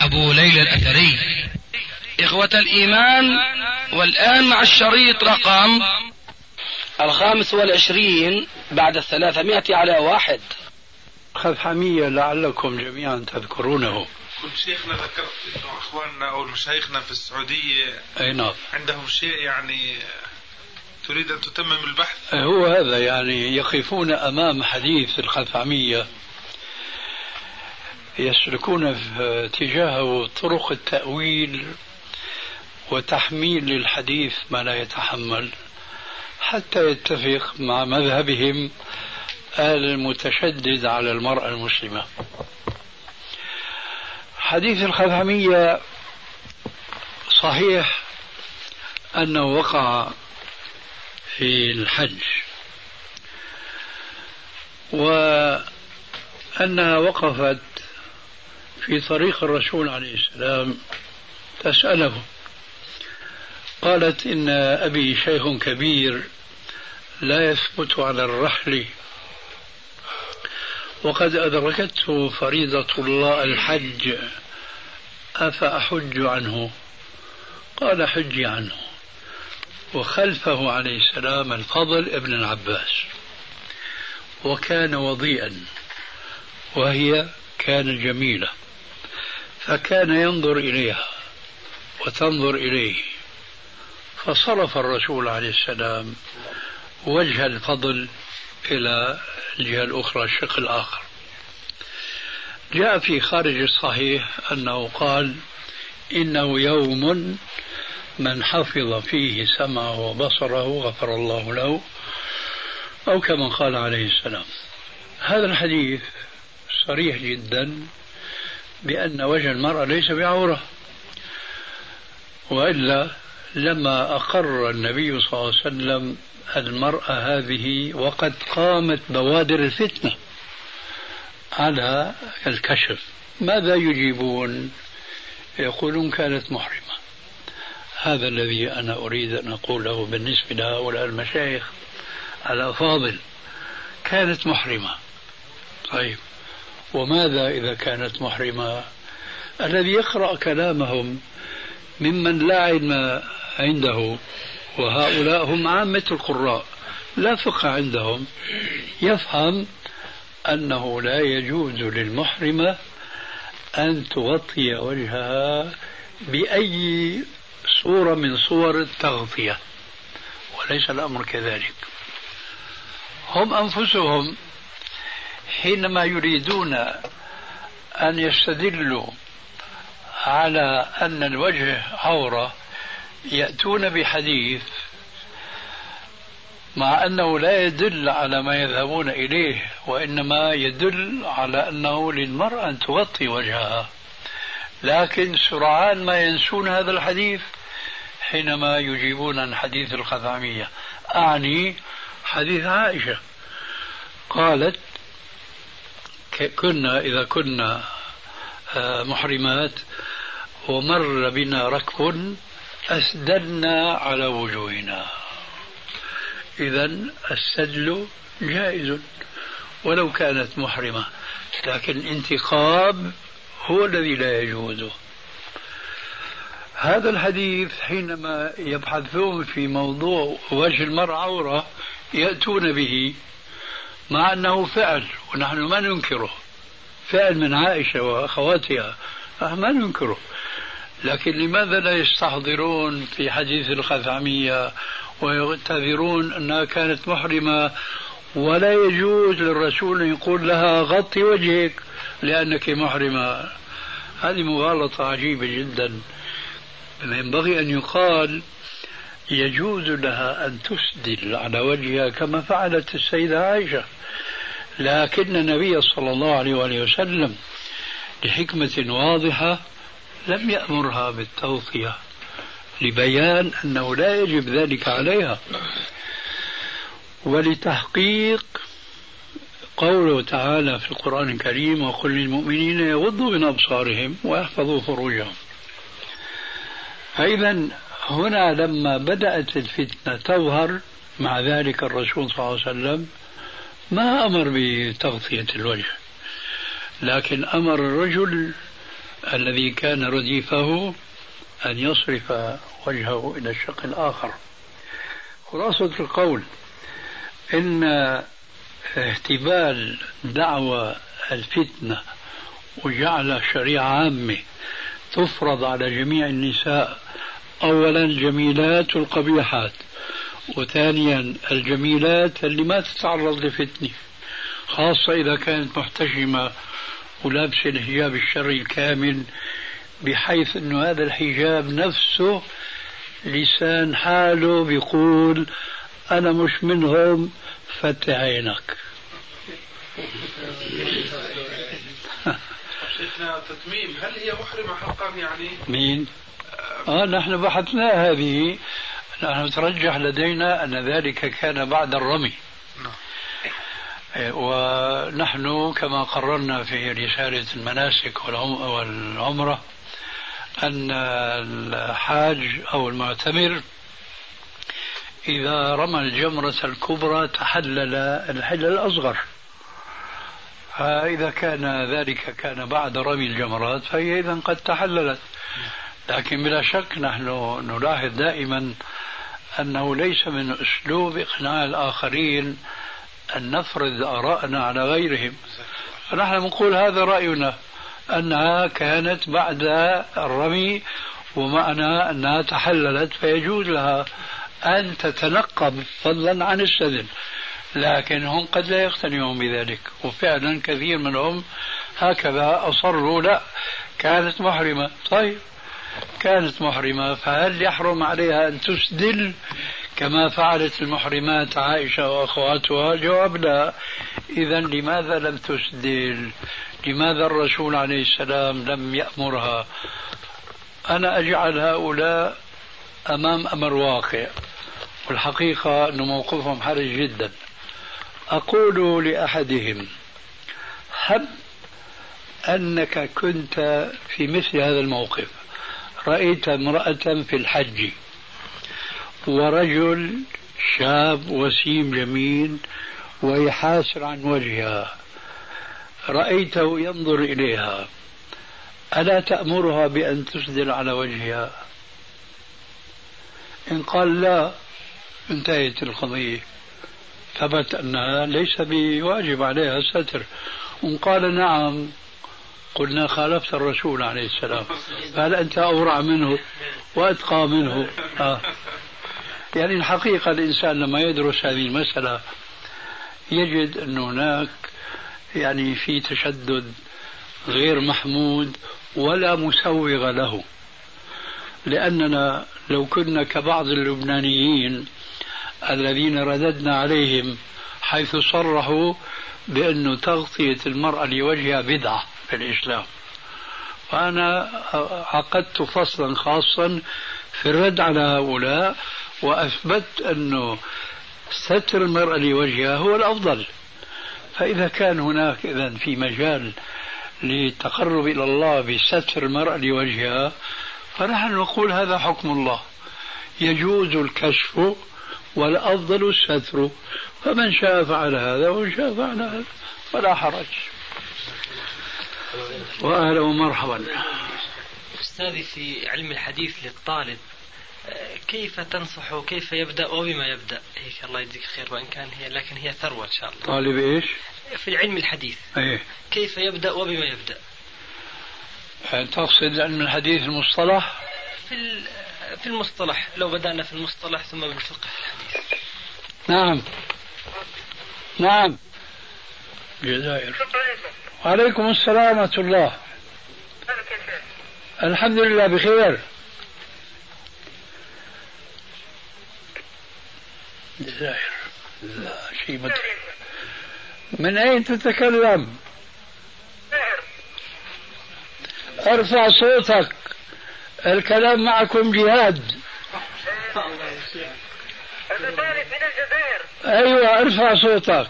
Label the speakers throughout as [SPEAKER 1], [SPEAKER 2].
[SPEAKER 1] أبو ليلى الأثري إخوة الإيمان والآن مع الشريط رقم الخامس والعشرين بعد الثلاثمائة على واحد
[SPEAKER 2] خثعمية لعلكم جميعا تذكرونه
[SPEAKER 3] كل شيخنا ذكرت انه اخواننا او مشايخنا في السعوديه
[SPEAKER 2] أي نعم
[SPEAKER 3] عندهم شيء يعني تريد ان تتمم البحث
[SPEAKER 2] هو هذا يعني يقفون أمام حديث الخثعمية يسلكون في- تجاهه طرق التأويل وتحميل للحديث ما لا يتحمل حتى يتفق مع مذهبهم المتشدد على المرأة المسلمة حديث الخثعمية صحيح أنه وقع في الحج وأنها وقفت في طريق الرسول عليه السلام تسأله قالت إن أبي شيخ كبير لا يثبت على الرحل وقد أدركته فريضة الله الحج أفأحج عنه قال حجي عنه وخلفه عليه السلام الفضل ابن العباس وكان وضيئا وهي كانت جميلة فكان ينظر إليها وتنظر إليه فصرف الرسول عليه السلام وجه الفضل إلى الجهة الأخرى الشق الآخر جاء في خارج الصحيح أنه قال إنه يوم من حفظ فيه سمعه وبصره غفر الله له أو كما قال عليه السلام هذا الحديث صريح جدا بأن وجه المرأة ليس بعورة وإلا لما أقر النبي صلى الله عليه وسلم المرأة هذه وقد قامت بوادر الفتنة على الكشف ماذا يجيبون يقولون كانت محرمة هذا الذي أنا أريد أن أقوله بالنسبة لهؤلاء المشايخ الأفاضل كانت محرمة طيب وماذا إذا كانت محرمة الذي يقرأ كلامهم ممن لا علم عنده وهؤلاء هم عامة القراء لا فقه عندهم يفهم أنه لا يجوز للمحرمة أن تغطي وجهها بأي صورة من صور التغطية وليس الأمر كذلك هم أنفسهم حينما يريدون أن يستدلوا على أن الوجه عورة يأتون بحديث مع أنه لا يدل على ما يذهبون إليه وإنما يدل على أنه للمرأة أن تغطي وجهها لكن سرعان ما ينسون هذا الحديث حينما يجيبون عن حديث الخثعمية أعني حديث عائشة قالت ك- كنا إذا كنا آه، محرمات ومر بنا ركب أسدلنا على وجوهنا إذا السدل جائز ولو كانت محرمة لكن الانتقاب هو الذي لا يجوز هذا الحديث حينما يبحثون في موضوع وجه المرأة عورة يأتون به مع أنه فعل ونحن ما ننكره فعل من عائشة وأخواتها آه، ما ننكره لكن لماذا لا يستحضرون في حديث الخثعمية ويعتذرون أنها كانت محرمة ولا يجوز للرسول أن يقول لها غطي وجهك لأنك محرمة هذه مغالطة عجيبة جدا ينبغي أن يقال يجوز لها أن تسدل على وجهها كما فعلت السيدة عائشة لكن النبي صلى الله عليه وآله وسلم لحكمة واضحة لم يأمرها بالتوصية لبيان أنه لا يجب ذلك عليها ولتحقيق قوله تعالى في القرآن الكريم وقل للمؤمنين يغضوا من أبصارهم ويحفظوا فروجهم فإذا هنا لما بدأت الفتنة تظهر مع ذلك الرسول صلى الله عليه وسلم ما أمر بتغطية الوجه لكن أمر الرجل الذي كان رديفه أن يصرف وجهه إلى الشق الآخر خلاصة القول إن اهتبال دعوة الفتنة وجعل شريعة عامة تفرض على جميع النساء أولا الجميلات والقبيحات وثانيا الجميلات اللي ما تتعرض لفتنة خاصة إذا كانت محتشمة ولابسة الحجاب الشرعي الكامل بحيث أن هذا الحجاب نفسه لسان حاله بيقول أنا مش منهم فتح عينك
[SPEAKER 3] شفنا تتميم هل هي محرمة حقا يعني؟
[SPEAKER 2] مين؟ آه نحن بحثنا هذه نحن ترجح لدينا أن ذلك كان بعد الرمي
[SPEAKER 3] نعم.
[SPEAKER 2] إيه، ونحن كما قررنا في رسالة المناسك والعم- والعمرة أن الحاج أو المعتمر إذا رمى الجمرة الكبرى تحلل الحلل الأصغر فإذا كان ذلك كان بعد رمي الجمرات فهي إذا قد تحللت لكن بلا شك نحن نلاحظ دائما أنه ليس من أسلوب إقناع الآخرين أن نفرض آراءنا على غيرهم فنحن نقول هذا رأينا أنها كانت بعد الرمي ومعنى أنها تحللت فيجوز لها أن تتنقب فضلا عن السدل لكن هم قد لا يقتنعون بذلك وفعلا كثير منهم هكذا أصروا لا كانت محرمة طيب كانت محرمة فهل يحرم عليها أن تسدل كما فعلت المحرمات عائشة وأخواتها الجواب لا إذا لماذا لم تسدل لماذا الرسول عليه السلام لم يأمرها أنا أجعل هؤلاء أمام أمر واقع والحقيقة أن موقفهم حرج جدا أقول لأحدهم هب أنك كنت في مثل هذا الموقف رأيت امرأة في الحج ورجل شاب وسيم جميل وهي حاسر عن وجهها رأيته ينظر إليها ألا تأمرها بأن تسدل على وجهها إن قال لا انتهت القضية ثبت أنها ليس بواجب عليها الستر وإن قال نعم قلنا خالفت الرسول عليه السلام فهل أنت أورع منه وأتقى منه آه. يعني الحقيقة الإنسان لما يدرس هذه المسألة يجد أن هناك يعني في تشدد غير محمود ولا مسوغ له لأننا لو كنا كبعض اللبنانيين الذين رددنا عليهم حيث صرحوا بأن تغطية المرأة لوجهها بدعة في الإسلام فأنا عقدت فصلا خاصا في الرد على هؤلاء وأثبت أنه ستر المرأة لوجهها هو الأفضل فإذا كان هناك إذا في مجال للتقرب إلى الله بستر المرأة لوجهها فنحن نقول هذا حكم الله يجوز الكشف والأفضل الستر فمن شاء فعل هذا ومن شاء فعل هذا فلا حرج وأهلا ومرحبا
[SPEAKER 4] أستاذي في علم الحديث للطالب آه، كيف تنصحه كيف يبدأ وبما يبدأ هيك الله يجزيك خير وإن كان هي لكن هي ثروة إن شاء الله
[SPEAKER 2] طالب إيش
[SPEAKER 4] في علم الحديث
[SPEAKER 2] أيه.
[SPEAKER 4] كيف يبدأ وبما يبدأ
[SPEAKER 2] تقصد علم الحديث المصطلح
[SPEAKER 4] في ال- في المصطلح لو بدأنا في المصطلح ثم بالفقه في الحديث
[SPEAKER 2] نعم نعم الجزائر وعليكم السلام ورحمة الله الحمد لله بخير الجزائر لا شيء مت... من أين تتكلم ارفع صوتك الكلام معكم جهاد
[SPEAKER 5] ابن ثالث من الجزائر
[SPEAKER 2] ايوه ارفع صوتك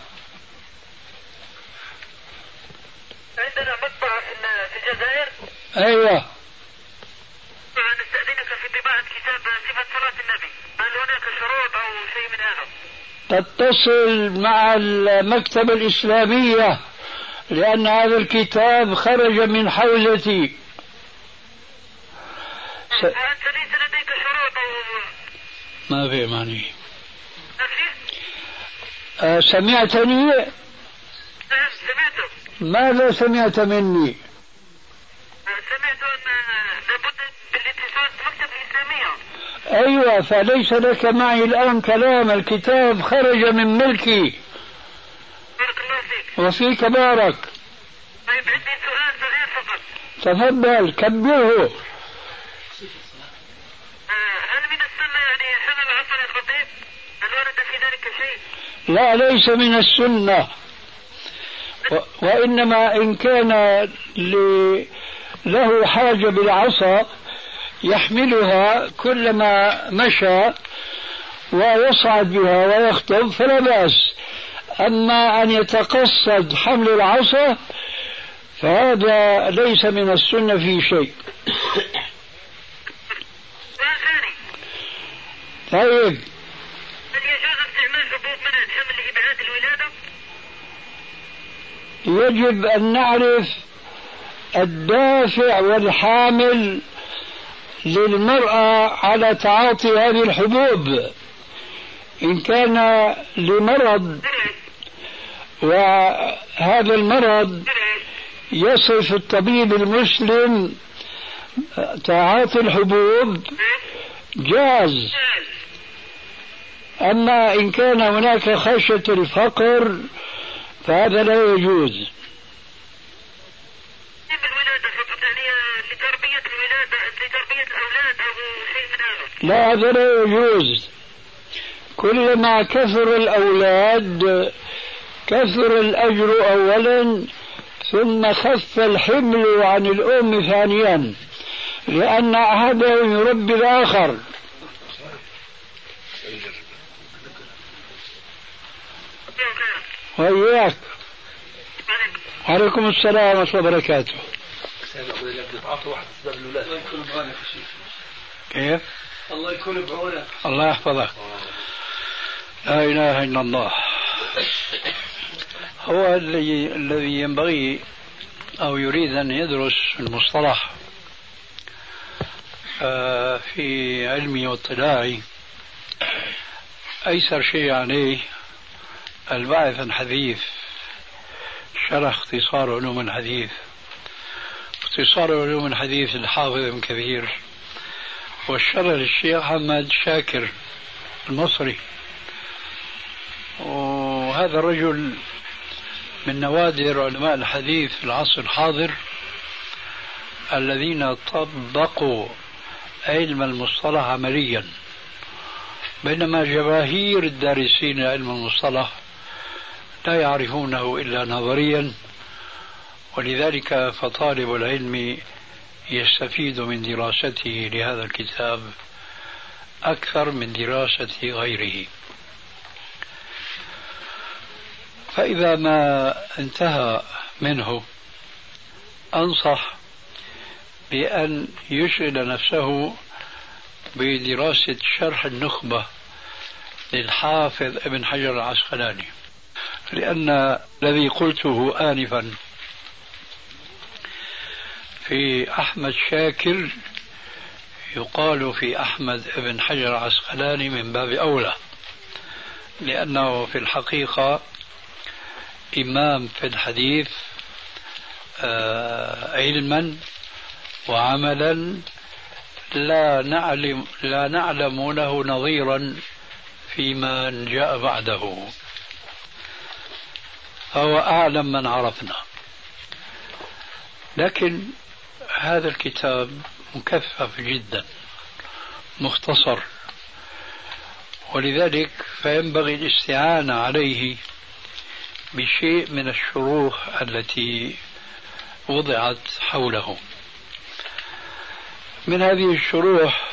[SPEAKER 5] عندنا مطبعة في ال- في الجزائر
[SPEAKER 2] ايوه
[SPEAKER 5] طبعا نستأذنك في طباعة كتاب صفة صلاة النبي هل هناك شروط أو شيء من هذا؟
[SPEAKER 2] تتصل مع المكتبة الإسلامية لأن هذا الكتاب خرج من حوزتي س-
[SPEAKER 5] وأنت ليس لديك شروط أو
[SPEAKER 2] ما في ماني
[SPEAKER 5] نفسي؟
[SPEAKER 2] أه، سمعتني
[SPEAKER 5] نعم سمعته
[SPEAKER 2] ماذا سمعت مني
[SPEAKER 5] سمعت أن لابد بالاتصال بالمكتبة الإسلامية
[SPEAKER 2] أيوة فليس لك معي الآن كلام الكتاب خرج من ملكي
[SPEAKER 5] بارك الله فيك
[SPEAKER 2] وفيك بارك
[SPEAKER 5] طيب عندي سؤال صغير فقط
[SPEAKER 2] تفضل كبره
[SPEAKER 5] آه، هل من السنة يعني حمل عصر الخطيب؟ هل ورد في ذلك شيء؟
[SPEAKER 2] لا ليس من السنة و- وإنما إن كان ل- له حاجة بالعصا يحملها كلما مشى ويصعد بها ويخطب فلا بأس أما أن يتقصد حمل العصا فهذا ليس من السنة في شيء
[SPEAKER 5] سؤال ثاني
[SPEAKER 2] طيب
[SPEAKER 5] هل يجوز استعمال حبوب منع الحمل لإبعاد الولادة؟
[SPEAKER 2] يجب أن نعرف الدافع والحامل للمرأة على تعاطي هذه الحبوب إن كان لمرض وهذا المرض يصف الطبيب المسلم تعاطي الحبوب
[SPEAKER 5] نعم.
[SPEAKER 2] جاز أما إن كان هناك خشية الفقر فهذا لا يجوز
[SPEAKER 5] تم الولادة فقط يعني لتربية الولادة لتربية الأولاد أو شيء من هذا
[SPEAKER 2] لا هذا لا يجوز كلما كثر الأولاد كثر الأجر أولا ثم خف الحمل عن الأم ثانيا لأن أحدهم يربي الآخر
[SPEAKER 5] يا خير
[SPEAKER 2] وإياك
[SPEAKER 5] عليكم
[SPEAKER 2] عليكم السلام ورحمة الله وبركاته
[SPEAKER 4] الله يكون بعونك يا شيخ
[SPEAKER 2] كيف؟
[SPEAKER 4] الله يكون بعونك
[SPEAKER 2] الله يحفظك لا إله إلا الله هو الذي الذي ينبغي أو يريد أن يدرس المصطلح آه، في علمي واطلاعي أيسر شيء عليه الباحث عن حديث شرح اختصار علوم الحديث اختصار علوم الحديث للحافظ ابن كثير والشرح للشيخ حماد شاكر المصري وهذا الرجل من نوادر علماء الحديث في العصر الحاضر الذين طبقوا علم المصطلح عمليا بينما جماهير الدارسين علم المصطلح لا يعرفونه الا نظريا ولذلك فطالب العلم يستفيد من دراسته لهذا الكتاب اكثر من دراسه غيره فإذا ما انتهى منه أنصح بأن يشغل نفسه بدراسة شرح النخبة للحافظ ابن حجر العسقلاني لأن الذي قلته آنفا في أحمد شاكر يقال في أحمد ابن حجر العسقلاني من باب أولى لأنه في الحقيقة إمام في الحديث آه، علما وعملا لا نعلم لا نعلم له نظيرا فيما جاء بعده فهو أعلم من عرفنا لكن هذا الكتاب مكثف جدا مختصر ولذلك فينبغي الاستعانة عليه بشيء من الشروح التي وضعت حوله من هذه الشروح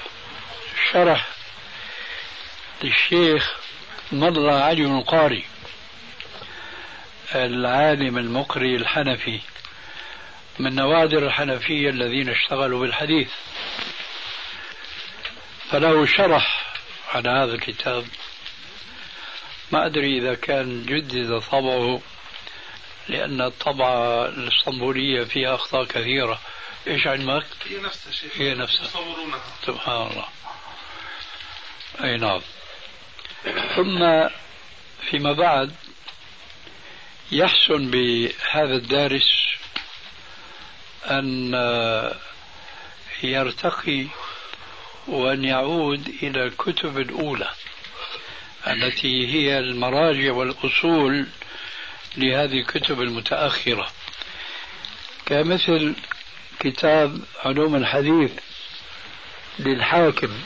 [SPEAKER 2] شرح للشيخ مضى علي القاري العالم المقري الحنفي من نوادر الحنفية الذين اشتغلوا بالحديث فله شرح على هذا الكتاب ما أدري إذا كان جدد طبعه لأن الطبعة الإسطنبولية فيها أخطاء كثيرة إيش علمك؟
[SPEAKER 3] هي نفسها شيخ
[SPEAKER 2] هي نفسها.
[SPEAKER 3] يصورونها
[SPEAKER 2] سبحان الله أي نعم ثم فيما بعد يحسن بهذا الدارس أن آه، يرتقي وأن يعود إلى الكتب الأولى التي هي المراجع والأصول لهذه الكتب المتأخرة كمثل كتاب علوم الحديث للحاكم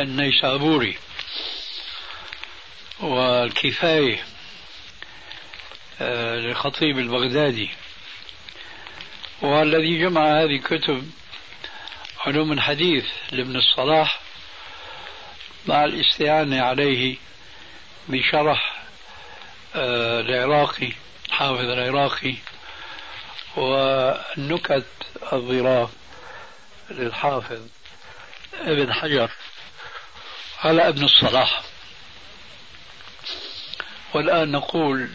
[SPEAKER 2] النيسابوري والكفاية آه، للخطيب البغدادي والذي جمع هذه كتب علوم الحديث لابن الصلاح مع الاستعانة عليه بشرح آه، العراقي حافظ العراقي ونكت الظراف للحافظ ابن حجر على ابن الصلاح والآن نقول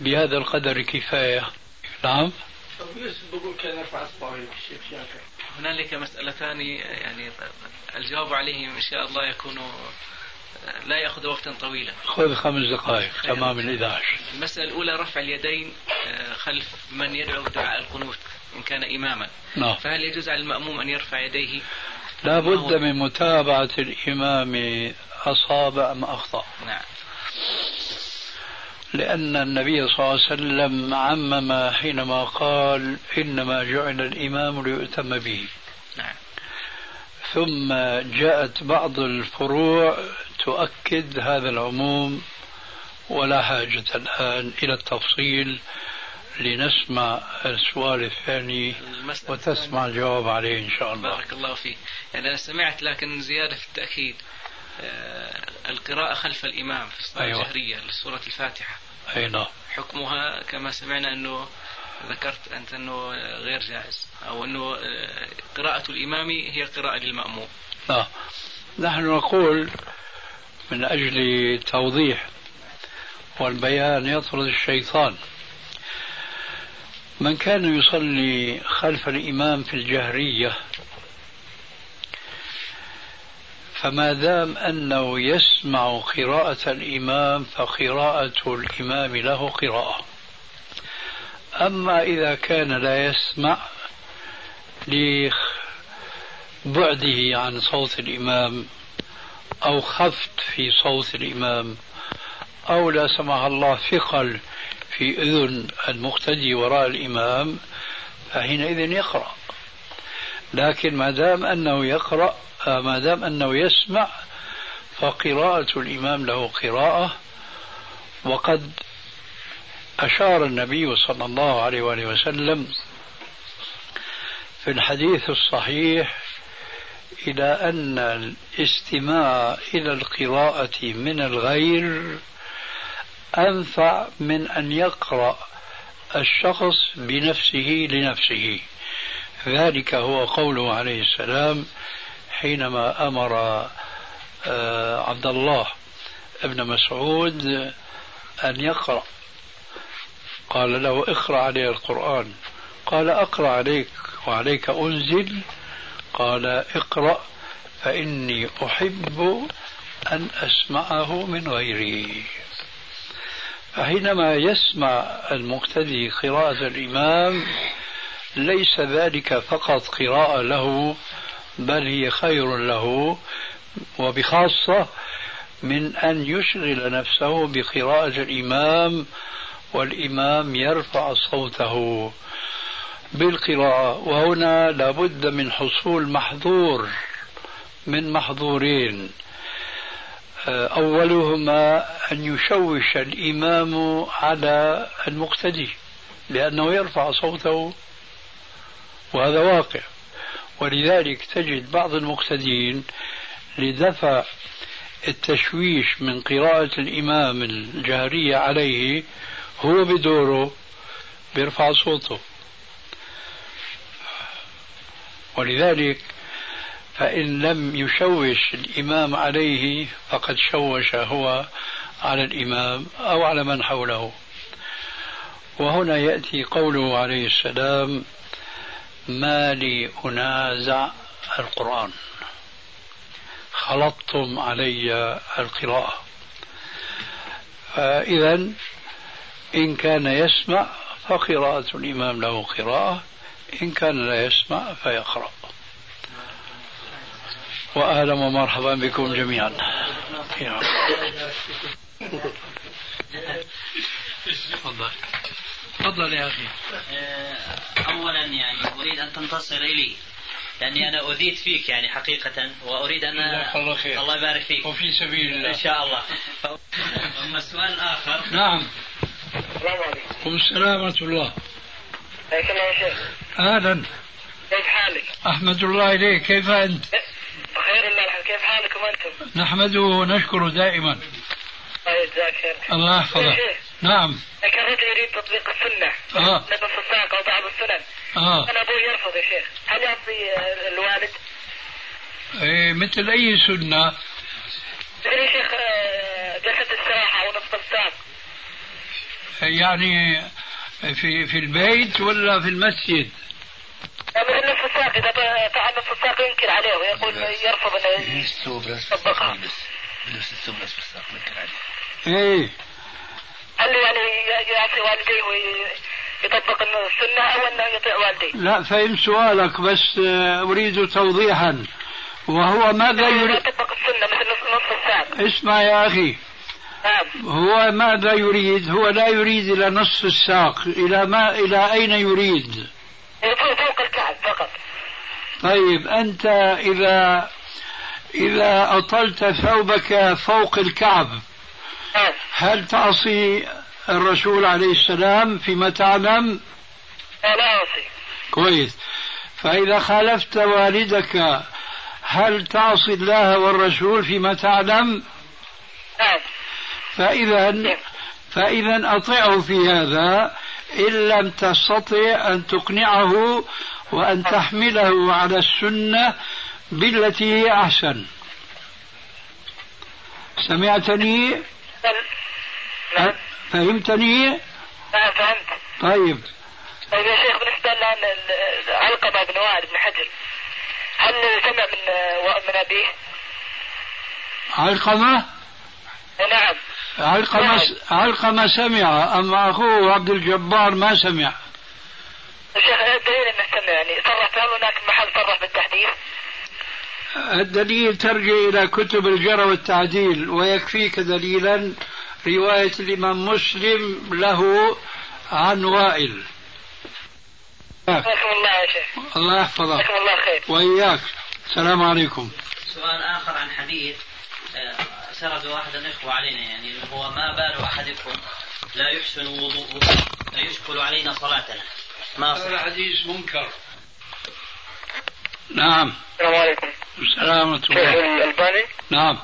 [SPEAKER 2] بهذا القدر كفاية نعم
[SPEAKER 4] هنالك مسألتان يعني الجواب عليهم إن شاء الله يكون لا يأخذ وقتا طويلا
[SPEAKER 2] خذ خمس دقائق تمام الإذاعة
[SPEAKER 4] المسألة الأولى رفع اليدين آه، خلف من يدعو دعاء القنوت إن كان إماما
[SPEAKER 2] نعم
[SPEAKER 4] فهل يجوز على المأموم أن يرفع يديه نعم.
[SPEAKER 2] لا بد من متابعة الإمام أصاب أم أخطأ
[SPEAKER 4] نعم
[SPEAKER 2] لأن النبي صلى الله عليه وسلم عمم حينما قال إنما جعل الإمام ليؤتم به
[SPEAKER 4] نعم
[SPEAKER 2] ثم جاءت بعض الفروع تؤكد هذا العموم ولا حاجة الآن إلى التفصيل لنسمع السؤال الثاني
[SPEAKER 4] المسألة
[SPEAKER 2] وتسمع الجواب عليه إن شاء الله
[SPEAKER 4] بارك الله فيك يعني أنا سمعت لكن زيادة في التأكيد آه، القراءة خلف الإمام في الصلاة
[SPEAKER 2] أيوة.
[SPEAKER 4] الجهرية لسورة الفاتحة
[SPEAKER 2] أي نعم
[SPEAKER 4] حكمها كما سمعنا أنه ذكرت أنت أنه غير جائز أو أنه آه، قراءة الإمام هي قراءة للمأموم
[SPEAKER 2] نعم نحن نقول من أجل توضيح والبيان يطرد الشيطان من كان يصلي خلف الإمام في الجهرية فما دام أنه يسمع قراءة الإمام فقراءة الإمام له قراءة أما إذا كان لا يسمع لخ- بعده عن صوت الإمام أو خفت في صوت الإمام أو لا سمح الله ثقل في أذن المقتدي وراء الإمام فحينئذ يقرأ لكن ما دام أنه يقرأ آه، ما دام أنه يسمع فقراءة الإمام له قراءة وقد أشار النبي صلى الله عليه وآله وسلم في الحديث الصحيح إلى أن الاستماع إلى القراءة من الغير أنفع من أن يقرأ الشخص بنفسه لنفسه ذلك هو قوله عليه السلام حينما أمر آه، عبد الله ابن مسعود أن يقرأ قال له اقرأ علي القرآن قال اقرأ عليك وعليك أنزل قال اقرأ فإني أحب أن أسمعه من غيري فحينما يسمع المقتدي قراءة الإمام ليس ذلك فقط قراءة له بل هي خير له وبخاصة من أن يشغل نفسه بقراءة الإمام والإمام يرفع صوته بالقراءة وهنا لابد من حصول محظور من محظورين آه، أولهما أن يشوش الإمام على المقتدي لأنه يرفع صوته وهذا واقع ولذلك تجد بعض المقتدين لدفع التشويش من قراءة الإمام الجهرية عليه هو بدوره بيرفع صوته ولذلك فإن لم يشوش الإمام عليه فقد شوش هو على الإمام أو على من حوله وهنا يأتي قوله عليه السلام ما لي أنازع القرآن خلطتم علي القراءة فإذا إن كان يسمع فقراءة الإمام له قراءة إن كان لا يسمع فيقرأ وأهلا ومرحبا بكم جميعا
[SPEAKER 1] تفضل تفضل يا أخي
[SPEAKER 6] اولا آه، يعني اريد ان تنتصر الي لاني انا اذيت فيك يعني حقيقه واريد ان
[SPEAKER 2] جزاك الله خير.
[SPEAKER 6] الله يبارك فيك
[SPEAKER 2] وفي سبيل
[SPEAKER 6] ان
[SPEAKER 2] الله
[SPEAKER 6] شاء الله اما السؤال الاخر
[SPEAKER 1] نعم
[SPEAKER 5] السلام عليكم
[SPEAKER 1] قم السلام ورحمة الله
[SPEAKER 5] حياك الله يا شيخ
[SPEAKER 2] أهلا
[SPEAKER 5] كيف حالك؟
[SPEAKER 2] أحمد الله إليك كيف أنت
[SPEAKER 5] بخير الله الحمد كيف حالكم انتم؟
[SPEAKER 2] نحمده ونشكره دائما
[SPEAKER 5] الله يجزاك خير
[SPEAKER 2] الله يحفظك
[SPEAKER 5] يا شيخ
[SPEAKER 2] نعم
[SPEAKER 5] لكن الرجل يريد تطبيق السنه
[SPEAKER 2] آه.
[SPEAKER 5] نفس الساق او بعض السنن
[SPEAKER 2] آه
[SPEAKER 5] انا ابوي يرفض يا شيخ هل يعطي آه، الوالد؟
[SPEAKER 2] إيه مثل أي سنة
[SPEAKER 5] تدري إيه يا شيخ آه، جلسه استراحه او نصف الساق
[SPEAKER 2] يعني في في البيت ولا في المسجد
[SPEAKER 5] مثل نصف الساق اذا ب- فعل نصف الساق ينكر عليه ويقول يرفض انه يطبقها
[SPEAKER 2] إيه
[SPEAKER 5] هل يعني ي- يعصي والديه ويطبق السنه او انه يطيع والديه؟
[SPEAKER 2] لا فهم سؤالك بس آه، أريد توضيحا وهو ماذا يريد
[SPEAKER 5] يطبق السنه مثل نصف نصف الساق
[SPEAKER 2] اسمع يا أخي
[SPEAKER 5] نعم
[SPEAKER 2] هو ماذا يريد هو لا يريد إلى نصف الساق إلى ما إلى أين يريد
[SPEAKER 5] فوق فوق الكعب فقط
[SPEAKER 2] طيب أنت إذا إذا أطلت ثوبك فوق الكعب
[SPEAKER 5] نعم
[SPEAKER 2] هل تعصي الرسول عليه السلام فيما تعلم
[SPEAKER 5] لا لا أوصي
[SPEAKER 2] كويس فإذا خالفت والدك هل تعصي الله والرسول فيما تعلم
[SPEAKER 5] نعم
[SPEAKER 2] فإذا فإذا أطعه في هذا إن لم تستطع أن تقنعه وأن تحمله على السنة بالتي هي أحسن سمعتني
[SPEAKER 5] بل- نعم
[SPEAKER 2] فهمتني
[SPEAKER 5] نعم فهمت
[SPEAKER 2] طيب
[SPEAKER 5] طيب يا شيخ بالنسبة لنا علقمة بن وائل بن حجر هل سمع من من أبيه؟
[SPEAKER 2] علقمة
[SPEAKER 5] نعم
[SPEAKER 2] علقمة علقمة سمع أما أخوه عبد الجبار ما سمع
[SPEAKER 5] الشيخ إيه الدليل انه سمع يعني صرح هل هناك محل صرح بالتحديث؟
[SPEAKER 2] الدليل ترجع إلى كتب الجرى والتعديل ويكفيك دليلا رواية الإمام مسلم له عن وائل
[SPEAKER 5] جزاكم الله يا شيخ
[SPEAKER 2] الله يحفظك
[SPEAKER 5] جزاكم الله خير
[SPEAKER 2] وإياك السلام عليكم
[SPEAKER 6] سؤال اخر عن حديث آه، سرد واحد الاخوه علينا يعني هو ما بال احدكم لا يحسن وضوءه فيشكل علينا صلاتنا ما صح
[SPEAKER 2] الحديث منكر نعم
[SPEAKER 5] السلام عليكم
[SPEAKER 2] سلامة الله
[SPEAKER 5] الألباني
[SPEAKER 2] نعم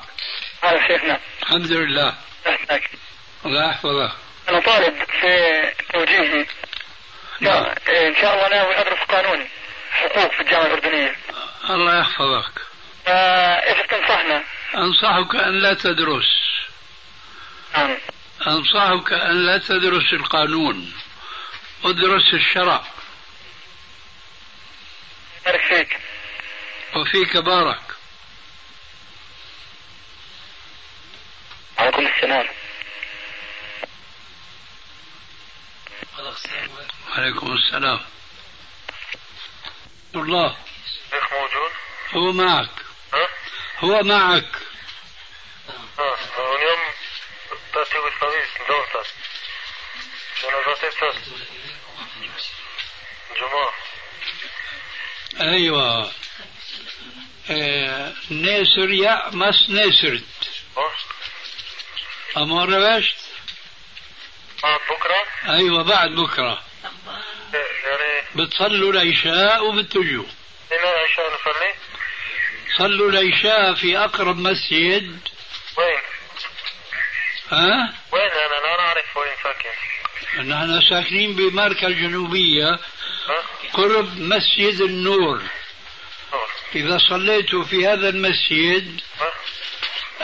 [SPEAKER 5] هذا شيخنا
[SPEAKER 2] الحمد لله
[SPEAKER 5] أحسنك
[SPEAKER 2] الله يحفظك
[SPEAKER 5] أنا طالب في توجيهي
[SPEAKER 2] نعم.
[SPEAKER 5] إن شاء الله ناوي أدرس قانون حقوق في الجامعة الأردنية
[SPEAKER 2] الله يحفظك
[SPEAKER 5] فإيش تنصحنا؟
[SPEAKER 2] أنصحك أن لا تدرس
[SPEAKER 5] نعم
[SPEAKER 2] أنصحك أن لا تدرس القانون ادرس الشرع
[SPEAKER 5] بارك فيك
[SPEAKER 2] وفيك بارك
[SPEAKER 5] عليكم السلام
[SPEAKER 2] وعليكم السلام الله
[SPEAKER 5] الشيخ موجود؟
[SPEAKER 2] هو معك
[SPEAKER 5] ها؟
[SPEAKER 2] هو معك
[SPEAKER 5] ها اليوم ترتيب الطبيب دور تاس أنا ترتيب تاس جمعة
[SPEAKER 2] أيوة آه، نيسر يا مس نيسرت
[SPEAKER 5] ها؟
[SPEAKER 2] أمر بشت
[SPEAKER 5] بعد بكرة
[SPEAKER 2] أيوة بعد بكرة
[SPEAKER 5] يعني
[SPEAKER 2] بتصلوا العشاء وبتجوا
[SPEAKER 5] لنا عشاء
[SPEAKER 2] صلوا العشاء في أقرب مسجد
[SPEAKER 5] وين؟
[SPEAKER 2] ها
[SPEAKER 5] وين انا لا اعرف وين ساكن
[SPEAKER 2] نحن ساكنين بماركة الجنوبية
[SPEAKER 5] ها؟
[SPEAKER 2] قرب مسجد النور
[SPEAKER 5] نور.
[SPEAKER 2] إذا صليت في هذا المسجد
[SPEAKER 5] ها؟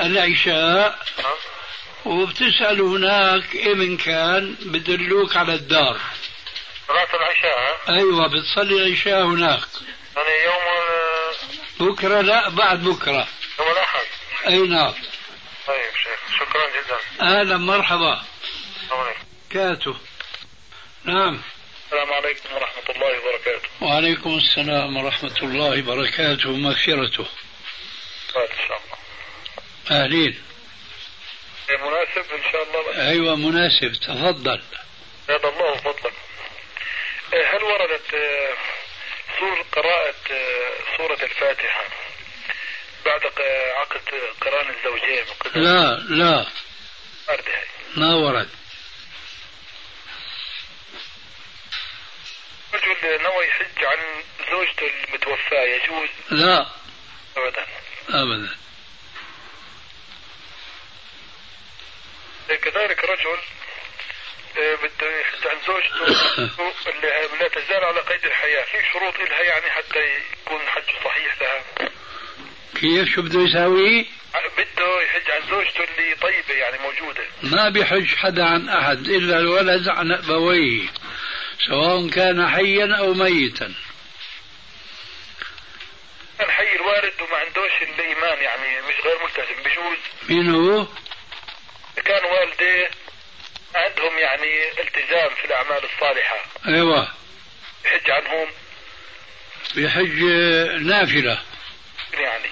[SPEAKER 2] العشاء
[SPEAKER 5] ها؟
[SPEAKER 2] وبتسأل هناك إيه من كان بدلوك على الدار
[SPEAKER 5] صلاة العشاء ها؟
[SPEAKER 2] أيوة بتصلي العشاء هناك
[SPEAKER 5] انا يوم ال-
[SPEAKER 2] بكرة لا بعد بكرة
[SPEAKER 5] يوم الاحد
[SPEAKER 2] أي نعم
[SPEAKER 5] طيب شيخ شكرا جدا
[SPEAKER 2] أهلا مرحبا
[SPEAKER 5] السلام عليكم
[SPEAKER 2] كاتو نعم
[SPEAKER 5] السلام عليكم ورحمة الله وبركاته
[SPEAKER 2] وعليكم السلام ورحمة الله وبركاته ومغفرته
[SPEAKER 5] طيب ان شاء الله إيه،
[SPEAKER 2] أهلين
[SPEAKER 5] مناسب ان شاء الله
[SPEAKER 2] أيوة مناسب تفضل
[SPEAKER 5] زاد الله فضلك إيه، هل وردت آه، سور قراءة آه، سورة الفاتحة بعد ق- عقد قران الزوجين وكذا؟
[SPEAKER 2] لا لا
[SPEAKER 5] وارد هاي.
[SPEAKER 2] ما ورد
[SPEAKER 5] رجل نوى يحج عن زوجته المتوفاة يجوز
[SPEAKER 2] لا
[SPEAKER 5] أبدا
[SPEAKER 2] أبدا
[SPEAKER 5] كذلك رجل آه، بده يحج عن زوجته اللي لا تزال على قيد الحياة في شروط لها يعني حتى يكون حجه صحيح لها
[SPEAKER 2] كيف شو بده يساوي
[SPEAKER 5] بده يحج عن زوجته اللي طيبة يعني موجودة
[SPEAKER 2] ما بيحج حدا عن أحد إلا الولد عن أبويه سواء كان حيا أو ميتا
[SPEAKER 5] كان حي الوارد وما عندوش الايمان يعني مش غير ملتزم بجوز
[SPEAKER 2] مين هو
[SPEAKER 5] كان والديه عندهم يعني التزام في الاعمال الصالحه
[SPEAKER 2] أيوة
[SPEAKER 5] يحج عنهم
[SPEAKER 2] بيحج نافلة
[SPEAKER 5] يعني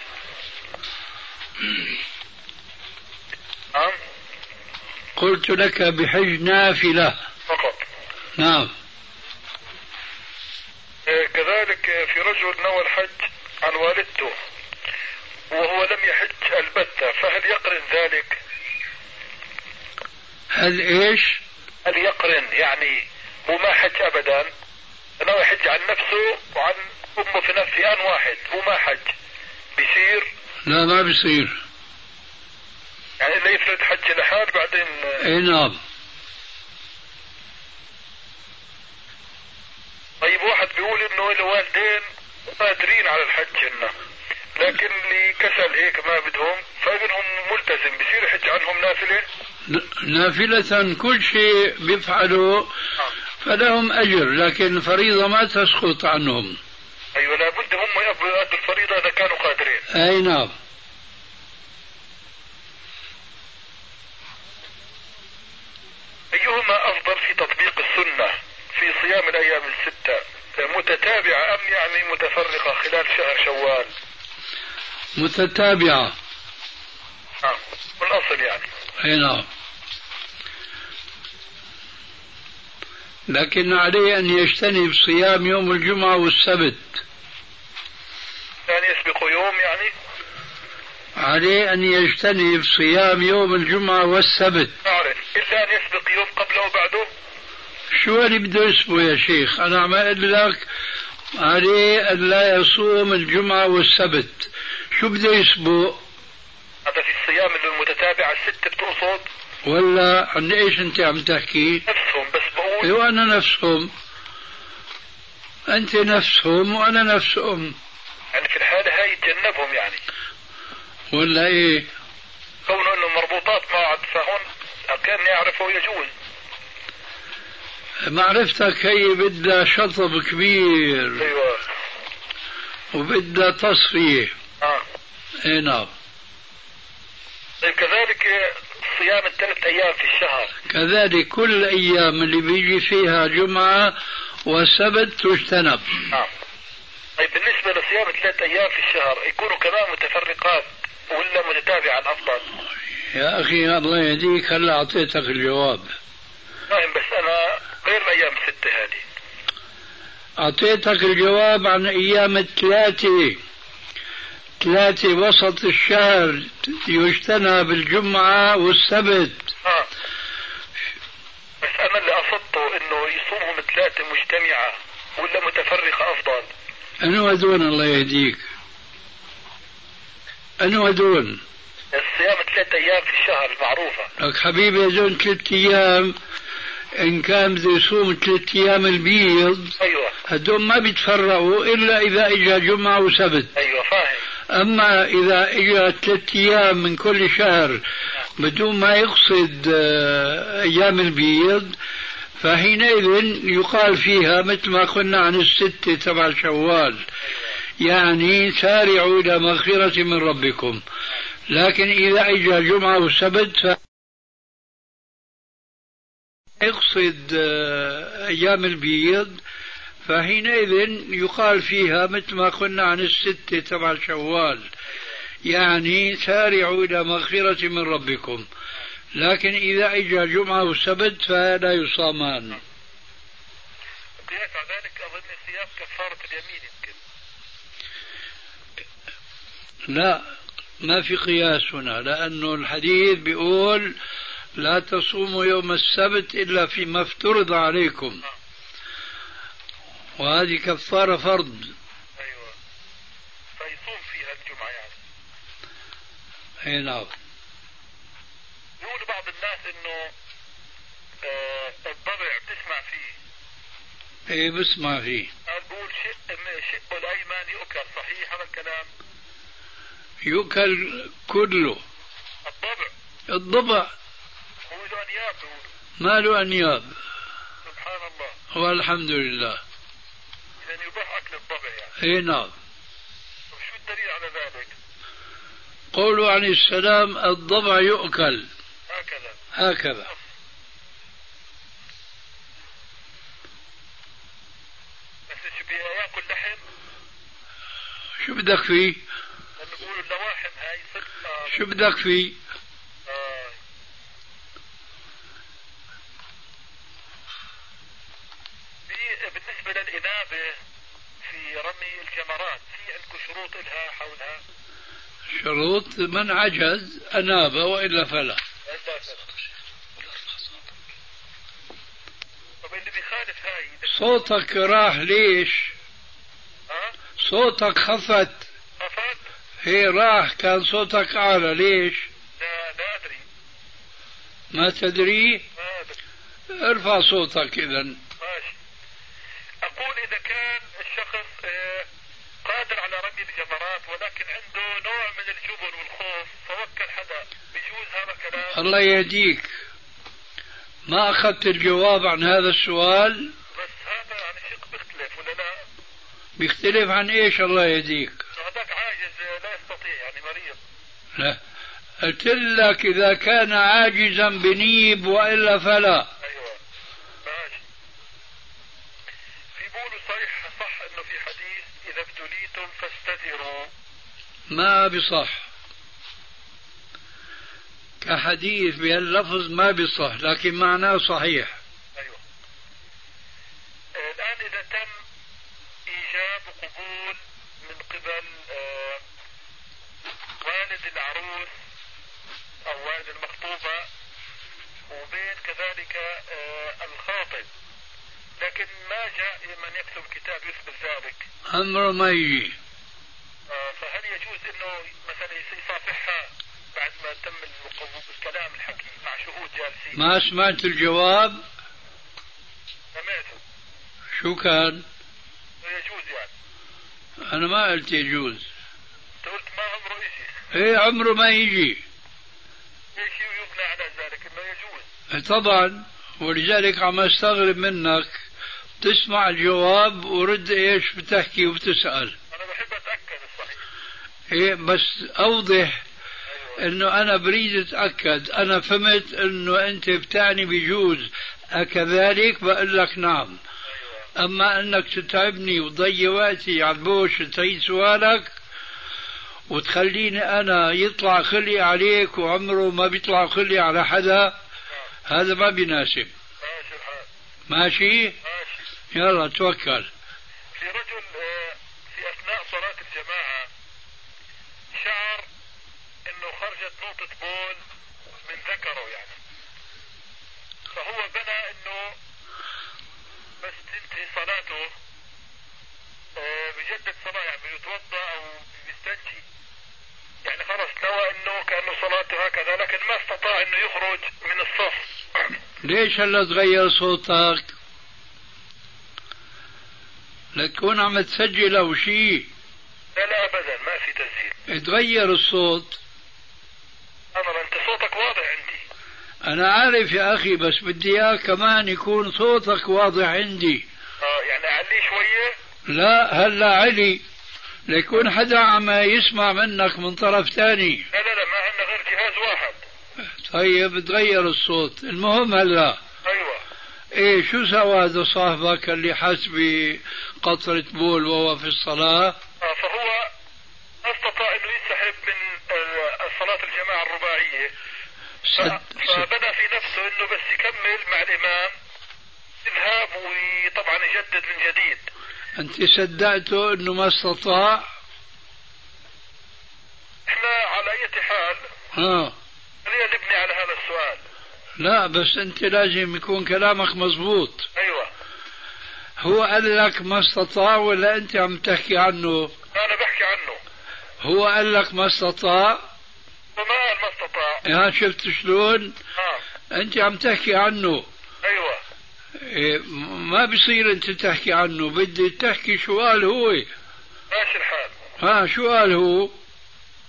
[SPEAKER 5] نعم
[SPEAKER 2] قلت لك بحج نافلة
[SPEAKER 5] فقط
[SPEAKER 2] نعم
[SPEAKER 5] آه، كذلك آه، في رجل نوى الحج عن والدته وهو لم يحج البتة فهل يقرن ذلك
[SPEAKER 2] هل إيش
[SPEAKER 5] هل يقرن يعني هو ما حج ابدا ناوي يحج عن نفسه وعن امه في نفس في ان واحد هو ما حج بيصير
[SPEAKER 2] لا ما بيصير
[SPEAKER 5] يعني اللي يفرد حج لحال بعدين آه،
[SPEAKER 2] اي نعم
[SPEAKER 5] طيب واحد بيقول انه له والدين قادرين على الحج انه لكن اللي كسل هيك ما بدهم فابنهم ملتزم بصير يحج عنهم نافله
[SPEAKER 2] نافلة كل شيء بيفعله
[SPEAKER 5] نعم.
[SPEAKER 2] فلهم أجر لكن فريضة ما تسقط عنهم
[SPEAKER 5] ايوه لابد هم يقضوا يأدوا الفريضه اذا كانوا قادرين
[SPEAKER 2] أي نعم
[SPEAKER 5] ايهما افضل في تطبيق السنه في صيام الايام السته متتابعه ام يعني متفرقه خلال شهر شوال
[SPEAKER 2] متتابعة
[SPEAKER 5] نعم من الاصل يعني
[SPEAKER 2] أي نعم لكن عليه أن يجتنب صيام يوم الجمعة والسبت
[SPEAKER 5] كان يسبق يوم يعني
[SPEAKER 2] عليه أن يجتنب صيام يوم الجمعة والسبت
[SPEAKER 5] اعرف الا ان يسبق يوم قبله وبعده
[SPEAKER 2] شو اللي بده اسمه يا شيخ أنا عم أقول لك عليه أن لا يصوم الجمعة والسبت شو بده يسبق
[SPEAKER 5] هذا في الصيام اللي المتتابعه السته بتقصد
[SPEAKER 2] ولا عن ايش انت عم تحكي؟
[SPEAKER 5] نفسهم بس بقول
[SPEAKER 2] ايوه وانا نفسهم انت نفسهم وانا نفسهم
[SPEAKER 5] يعني في الحاله هاي يتجنبهم يعني
[SPEAKER 2] ولا ايه؟
[SPEAKER 5] كونه انه مربوطات بعض فهون كان يعرفه يجوز
[SPEAKER 2] معرفتك هي بدها شطب كبير
[SPEAKER 5] ايوه
[SPEAKER 2] وبدها تصفيه
[SPEAKER 5] اه
[SPEAKER 2] اي نعم
[SPEAKER 5] طيب كذلك آه، صيام الثلاث ايام في الشهر
[SPEAKER 2] كذلك كل الايام اللي بيجي فيها جمعه وسبت تجتنب
[SPEAKER 5] نعم طيب بالنسبة لصيام ثلاثة أيام في الشهر يكونوا كمان متفرقات ولا متتابعة الأفضل؟
[SPEAKER 2] يا اخي الله يهديك هلا اعطيتك الجواب
[SPEAKER 5] فاهم بس أنا غير الأيام الستة هذه
[SPEAKER 2] أعطيتك الجواب عن أيام الثلاثة ثلاثة وسط الشهر يجتنب الجمعة والسبت
[SPEAKER 5] آه بس أنا اللي قصدته إنه يصومهم ثلاثة مجتمعة ولا متفرقة أفضل؟
[SPEAKER 2] أنا ودون الله يهديك انه هدول
[SPEAKER 5] الصيام ثلاثة أيام في الشهر المعروفة
[SPEAKER 2] لك حبيبي هدول ثلاث ايام ان كان بده يصوم ثلاث ايام البيض
[SPEAKER 5] أيوة
[SPEAKER 2] هدول ما بيتفرغوا الا اذا اجى جمعه وسبت
[SPEAKER 5] أيوة فاهم
[SPEAKER 2] اما اذا اجى ثلاث ايام من كل شهر
[SPEAKER 5] نعم.
[SPEAKER 2] بدون ما يقصد آه، ايام البيض فحينئذ يقال فيها مثل ما قلنا عن الستة تبع شوال يعني سارعوا إلى مغفرة من ربكم لكن إذا أجى جمعة وسبت ف... يقصد آه، أيام البيض فحينئذ يقال فيها مثل ما قلنا عن الستة تبع شوال يعني سارعوا إلى مغفرة من ربكم لكن إذا أجى جمعة وسبت فلا يصامان
[SPEAKER 5] بيقع ذلك أظن صيام كفارة اليمين يمكن
[SPEAKER 2] لا ما في قياس هنا لأنه الحديث بيقول لا تصوموا يوم السبت إلا فيما افترض عليكم وهذه كفارة فرض
[SPEAKER 5] أيوة طيب، فيصوم فيها الجمعة يعني
[SPEAKER 2] أي نعم
[SPEAKER 5] يقول بعض الناس إنه آه، الضبع بتسمع فيه
[SPEAKER 2] إيه بسمع فيه
[SPEAKER 5] قال بقول شق شق الأيمن يؤكل صحيح هذا الكلام
[SPEAKER 2] يؤكل كله
[SPEAKER 5] الضبع
[SPEAKER 2] الضبع
[SPEAKER 5] هو له أنياب بيقولوا
[SPEAKER 2] ما له أنياب
[SPEAKER 5] سبحان الله
[SPEAKER 2] والحمد لله
[SPEAKER 5] إذا يباح أكل الضبع يعني
[SPEAKER 2] أي نعم
[SPEAKER 5] طب شو الدليل على ذلك؟
[SPEAKER 2] قولوا عن السلام الضبع يؤكل
[SPEAKER 5] هكذا
[SPEAKER 2] هكذا
[SPEAKER 5] بس شو بدي ياكل لحم؟
[SPEAKER 2] شو بدك فيه
[SPEAKER 5] لأنه بيقولوا اللواحم هاي صدق آه،
[SPEAKER 2] شو بدك فيه
[SPEAKER 5] آه، بي- بالنسبة للإنابة في رمي الجمرات في عندكم شروط لها حولها؟
[SPEAKER 2] شروط من عجز أناب وإلا فلا
[SPEAKER 5] إلا طب اللي بيخالف هاي
[SPEAKER 2] صوتك راح ليش
[SPEAKER 5] ها؟
[SPEAKER 2] صوتك خفت
[SPEAKER 5] خفت؟
[SPEAKER 2] هي راح كان صوتك أعلى ليش
[SPEAKER 5] لا لا أدري
[SPEAKER 2] ما تدري
[SPEAKER 5] ما أدري
[SPEAKER 2] ارفع صوتك إذا
[SPEAKER 5] ماشي أقول إذا كان الشخص آه، قادر على رمي الجمرات ولكن عنده نوع من الجبن والخوف فوكل حدا بجوز هذا كلام
[SPEAKER 2] الله يهديك ما أخذت الجواب عن هذا السؤال
[SPEAKER 5] بس هذا يعني شق بيختلف ولا لا؟
[SPEAKER 2] بيختلف عن إيش الله يهديك
[SPEAKER 5] هذاك عاجز آه، لا يستطيع يعني مريض
[SPEAKER 2] لا قلت لك إذا كان عاجزا بنيب طيب، وإلا فلا
[SPEAKER 5] أيوه ماشي في بولو صحيح صح إنه في حديث إذا ابتليتم فاستدروا
[SPEAKER 2] ما بصح كحديث بهاللفظ ما بصح لكن معناه صحيح
[SPEAKER 5] ايوه آه، الان اذا تم ايجاب قبول من قبل آه، والد العروس او والد المخطوبه وبين كذلك آه، الخاطب لكن ما جاء من يكتب كتاب يثبت ذلك
[SPEAKER 2] أمر ما يجي
[SPEAKER 5] آه، فهل يجوز انه مثلا يصافحها بعد ما تم القبول- الكلام الحكي مع شهود جالسين
[SPEAKER 2] ما سمعت الجواب
[SPEAKER 5] سمعته
[SPEAKER 2] شو كان
[SPEAKER 5] يجوز يعني
[SPEAKER 2] أنا ما قلت يجوز
[SPEAKER 5] أنت قلت ما عمره يجي
[SPEAKER 2] إيه عمره ما يجي
[SPEAKER 5] ليش يبنى على ذلك انه يجوز
[SPEAKER 2] طبعا ولذلك عم استغرب منك تسمع الجواب ورد ايش بتحكي وبتسأل
[SPEAKER 5] انا بحب اتاكد الصحيح
[SPEAKER 2] إيه بس اوضح
[SPEAKER 5] ايوه
[SPEAKER 2] انه انا بريد اتاكد انا فهمت انه انت بتعني بجوز اكذلك بقول لك نعم
[SPEAKER 5] ايوه
[SPEAKER 2] اما انك تتعبني وتضيع وقتي على البوش تعيد سؤالك وتخليني انا يطلع خلي عليك وعمره ما بيطلع خلي على حدا هذا ما بيناسب
[SPEAKER 5] ماشي الحال
[SPEAKER 2] ماشي
[SPEAKER 5] ماشي
[SPEAKER 2] يلا توكل
[SPEAKER 5] في رجل آه، في اثناء صلاه الجماعه شعر انه خرجت نقطه بول من ذكره يعني فهو بنى انه بس تنتهي صلاته آه، بجدد صلاه يعني بيتوضا او بيستنجي يعني خلص صلاته هكذا لكن ما استطاع انه يخرج من الصف
[SPEAKER 2] ليش هلا تغير صوتك؟ لتكون عم تسجل او شيء
[SPEAKER 5] لا لا ابدا ما في تسجيل
[SPEAKER 2] تغير الصوت
[SPEAKER 5] انا انت صوتك واضح عندي
[SPEAKER 2] انا عارف يا اخي بس بدي اياه كمان يكون صوتك واضح عندي
[SPEAKER 5] اه يعني اعليه شويه
[SPEAKER 2] لا هلا علي ليكون حدا عم يسمع منك من طرف ثاني
[SPEAKER 5] لا لا لا ما عندنا غير جهاز واحد
[SPEAKER 2] طيب تغير الصوت المهم هلا
[SPEAKER 5] ايوه
[SPEAKER 2] ايه شو سوى هذا صاحبك اللي حس بقطرة بول وهو في الصلاة
[SPEAKER 5] آه فهو استطاع انه ينسحب من آه، الصلاه الجماعه الرباعيه
[SPEAKER 2] سد
[SPEAKER 5] ف- فبدا في نفسه انه بس يكمل مع الامام يذهب وطبعا يجدد من جديد
[SPEAKER 2] انت صدقته انه ما استطاع
[SPEAKER 5] احنا على اي حال
[SPEAKER 2] ها
[SPEAKER 5] خلينا نبني على هذا السؤال
[SPEAKER 2] آه. لا بس انت لازم يكون كلامك مزبوط
[SPEAKER 5] ايوه
[SPEAKER 2] هو قال لك ما استطاع ولا انت عم تحكي عنه
[SPEAKER 5] انا بحكي عنه
[SPEAKER 2] هو قال لك ما استطاع إيه،
[SPEAKER 5] وما قال ما استطاع
[SPEAKER 2] ها شفت شلون
[SPEAKER 5] اه
[SPEAKER 2] انت عم تحكي عنه
[SPEAKER 5] ايوه
[SPEAKER 2] إيه، م- ما بصير انت تحكي عنه بدي تحكي شو قال هو
[SPEAKER 5] ماشي الحال
[SPEAKER 2] ها شو قال هو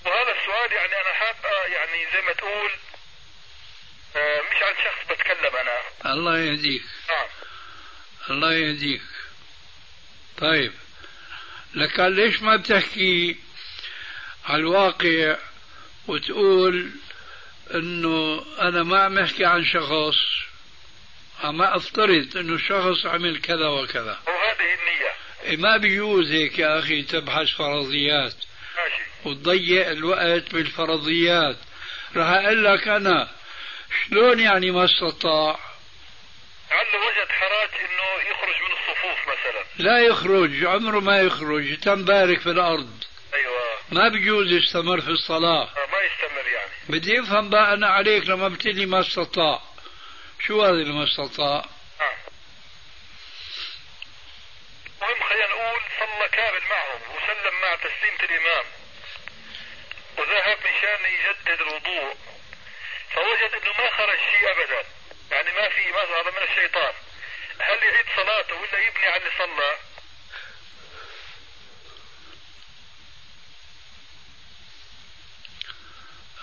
[SPEAKER 5] وهذا السؤال يعني انا حاب آه، يعني زي ما تقول آه، مش عن شخص بتكلم انا
[SPEAKER 2] الله يهديك
[SPEAKER 5] نعم
[SPEAKER 2] الله يهديك طيب لك قال ليش ما بتحكي على الواقع وتقول انه انا ما عم احكي عن شخص عم افترض انه الشخص عمل كذا وكذا
[SPEAKER 5] وهذه النية
[SPEAKER 2] إيه ما بيجوز هيك يا اخي تبحث فرضيات
[SPEAKER 5] ماشي
[SPEAKER 2] وتضيع الوقت بالفرضيات راح اقول لك انا شلون يعني ما استطاع
[SPEAKER 5] لعله وجد حراج انه يخرج من الصفوف مثلا
[SPEAKER 2] لا يخرج عمره ما يخرج تنبارك في الارض
[SPEAKER 5] ايوه
[SPEAKER 2] ما بيجوز يستمر في الصلاة
[SPEAKER 5] آه، ما يستمر يعني
[SPEAKER 2] بدي افهم بقى انا عليك لما بتقلي ما استطاع شو هذا اللي ما استطاع
[SPEAKER 5] نعم المهم خلينا نقول صلى كامل معهم وسلم مع تسليمة الإمام وذهب مشان يجدد الوضوء فوجد انه ما خرج شيء ابدا يعني ما في مظهر من الشيطان هل يعيد صلاته ولا يبني على اللي صلى؟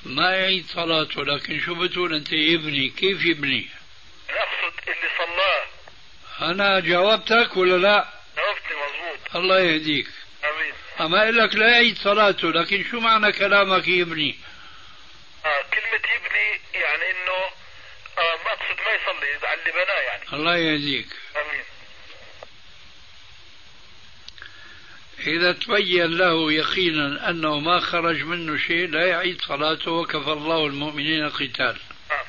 [SPEAKER 2] ما يعيد صلاته لكن شو بتقول انت يبني كيف يبني
[SPEAKER 5] أنا اقصد اللي صلاه
[SPEAKER 2] انا جاوبتك ولا لا
[SPEAKER 5] عرفتني مظبوط
[SPEAKER 2] الله يهديك
[SPEAKER 5] امين
[SPEAKER 2] اما اقول لك لا يعيد صلاته لكن شو معنى كلامك يبني
[SPEAKER 5] آه كلمة يبني يعني انه آه ما اقصد ما يصلي على اللي بناه يعني
[SPEAKER 2] الله يهديك
[SPEAKER 5] امين
[SPEAKER 2] إذا تبين له يقينا أنه ما خرج منه شيء لا يعيد صلاته وكفى الله المؤمنين القتال
[SPEAKER 5] نعم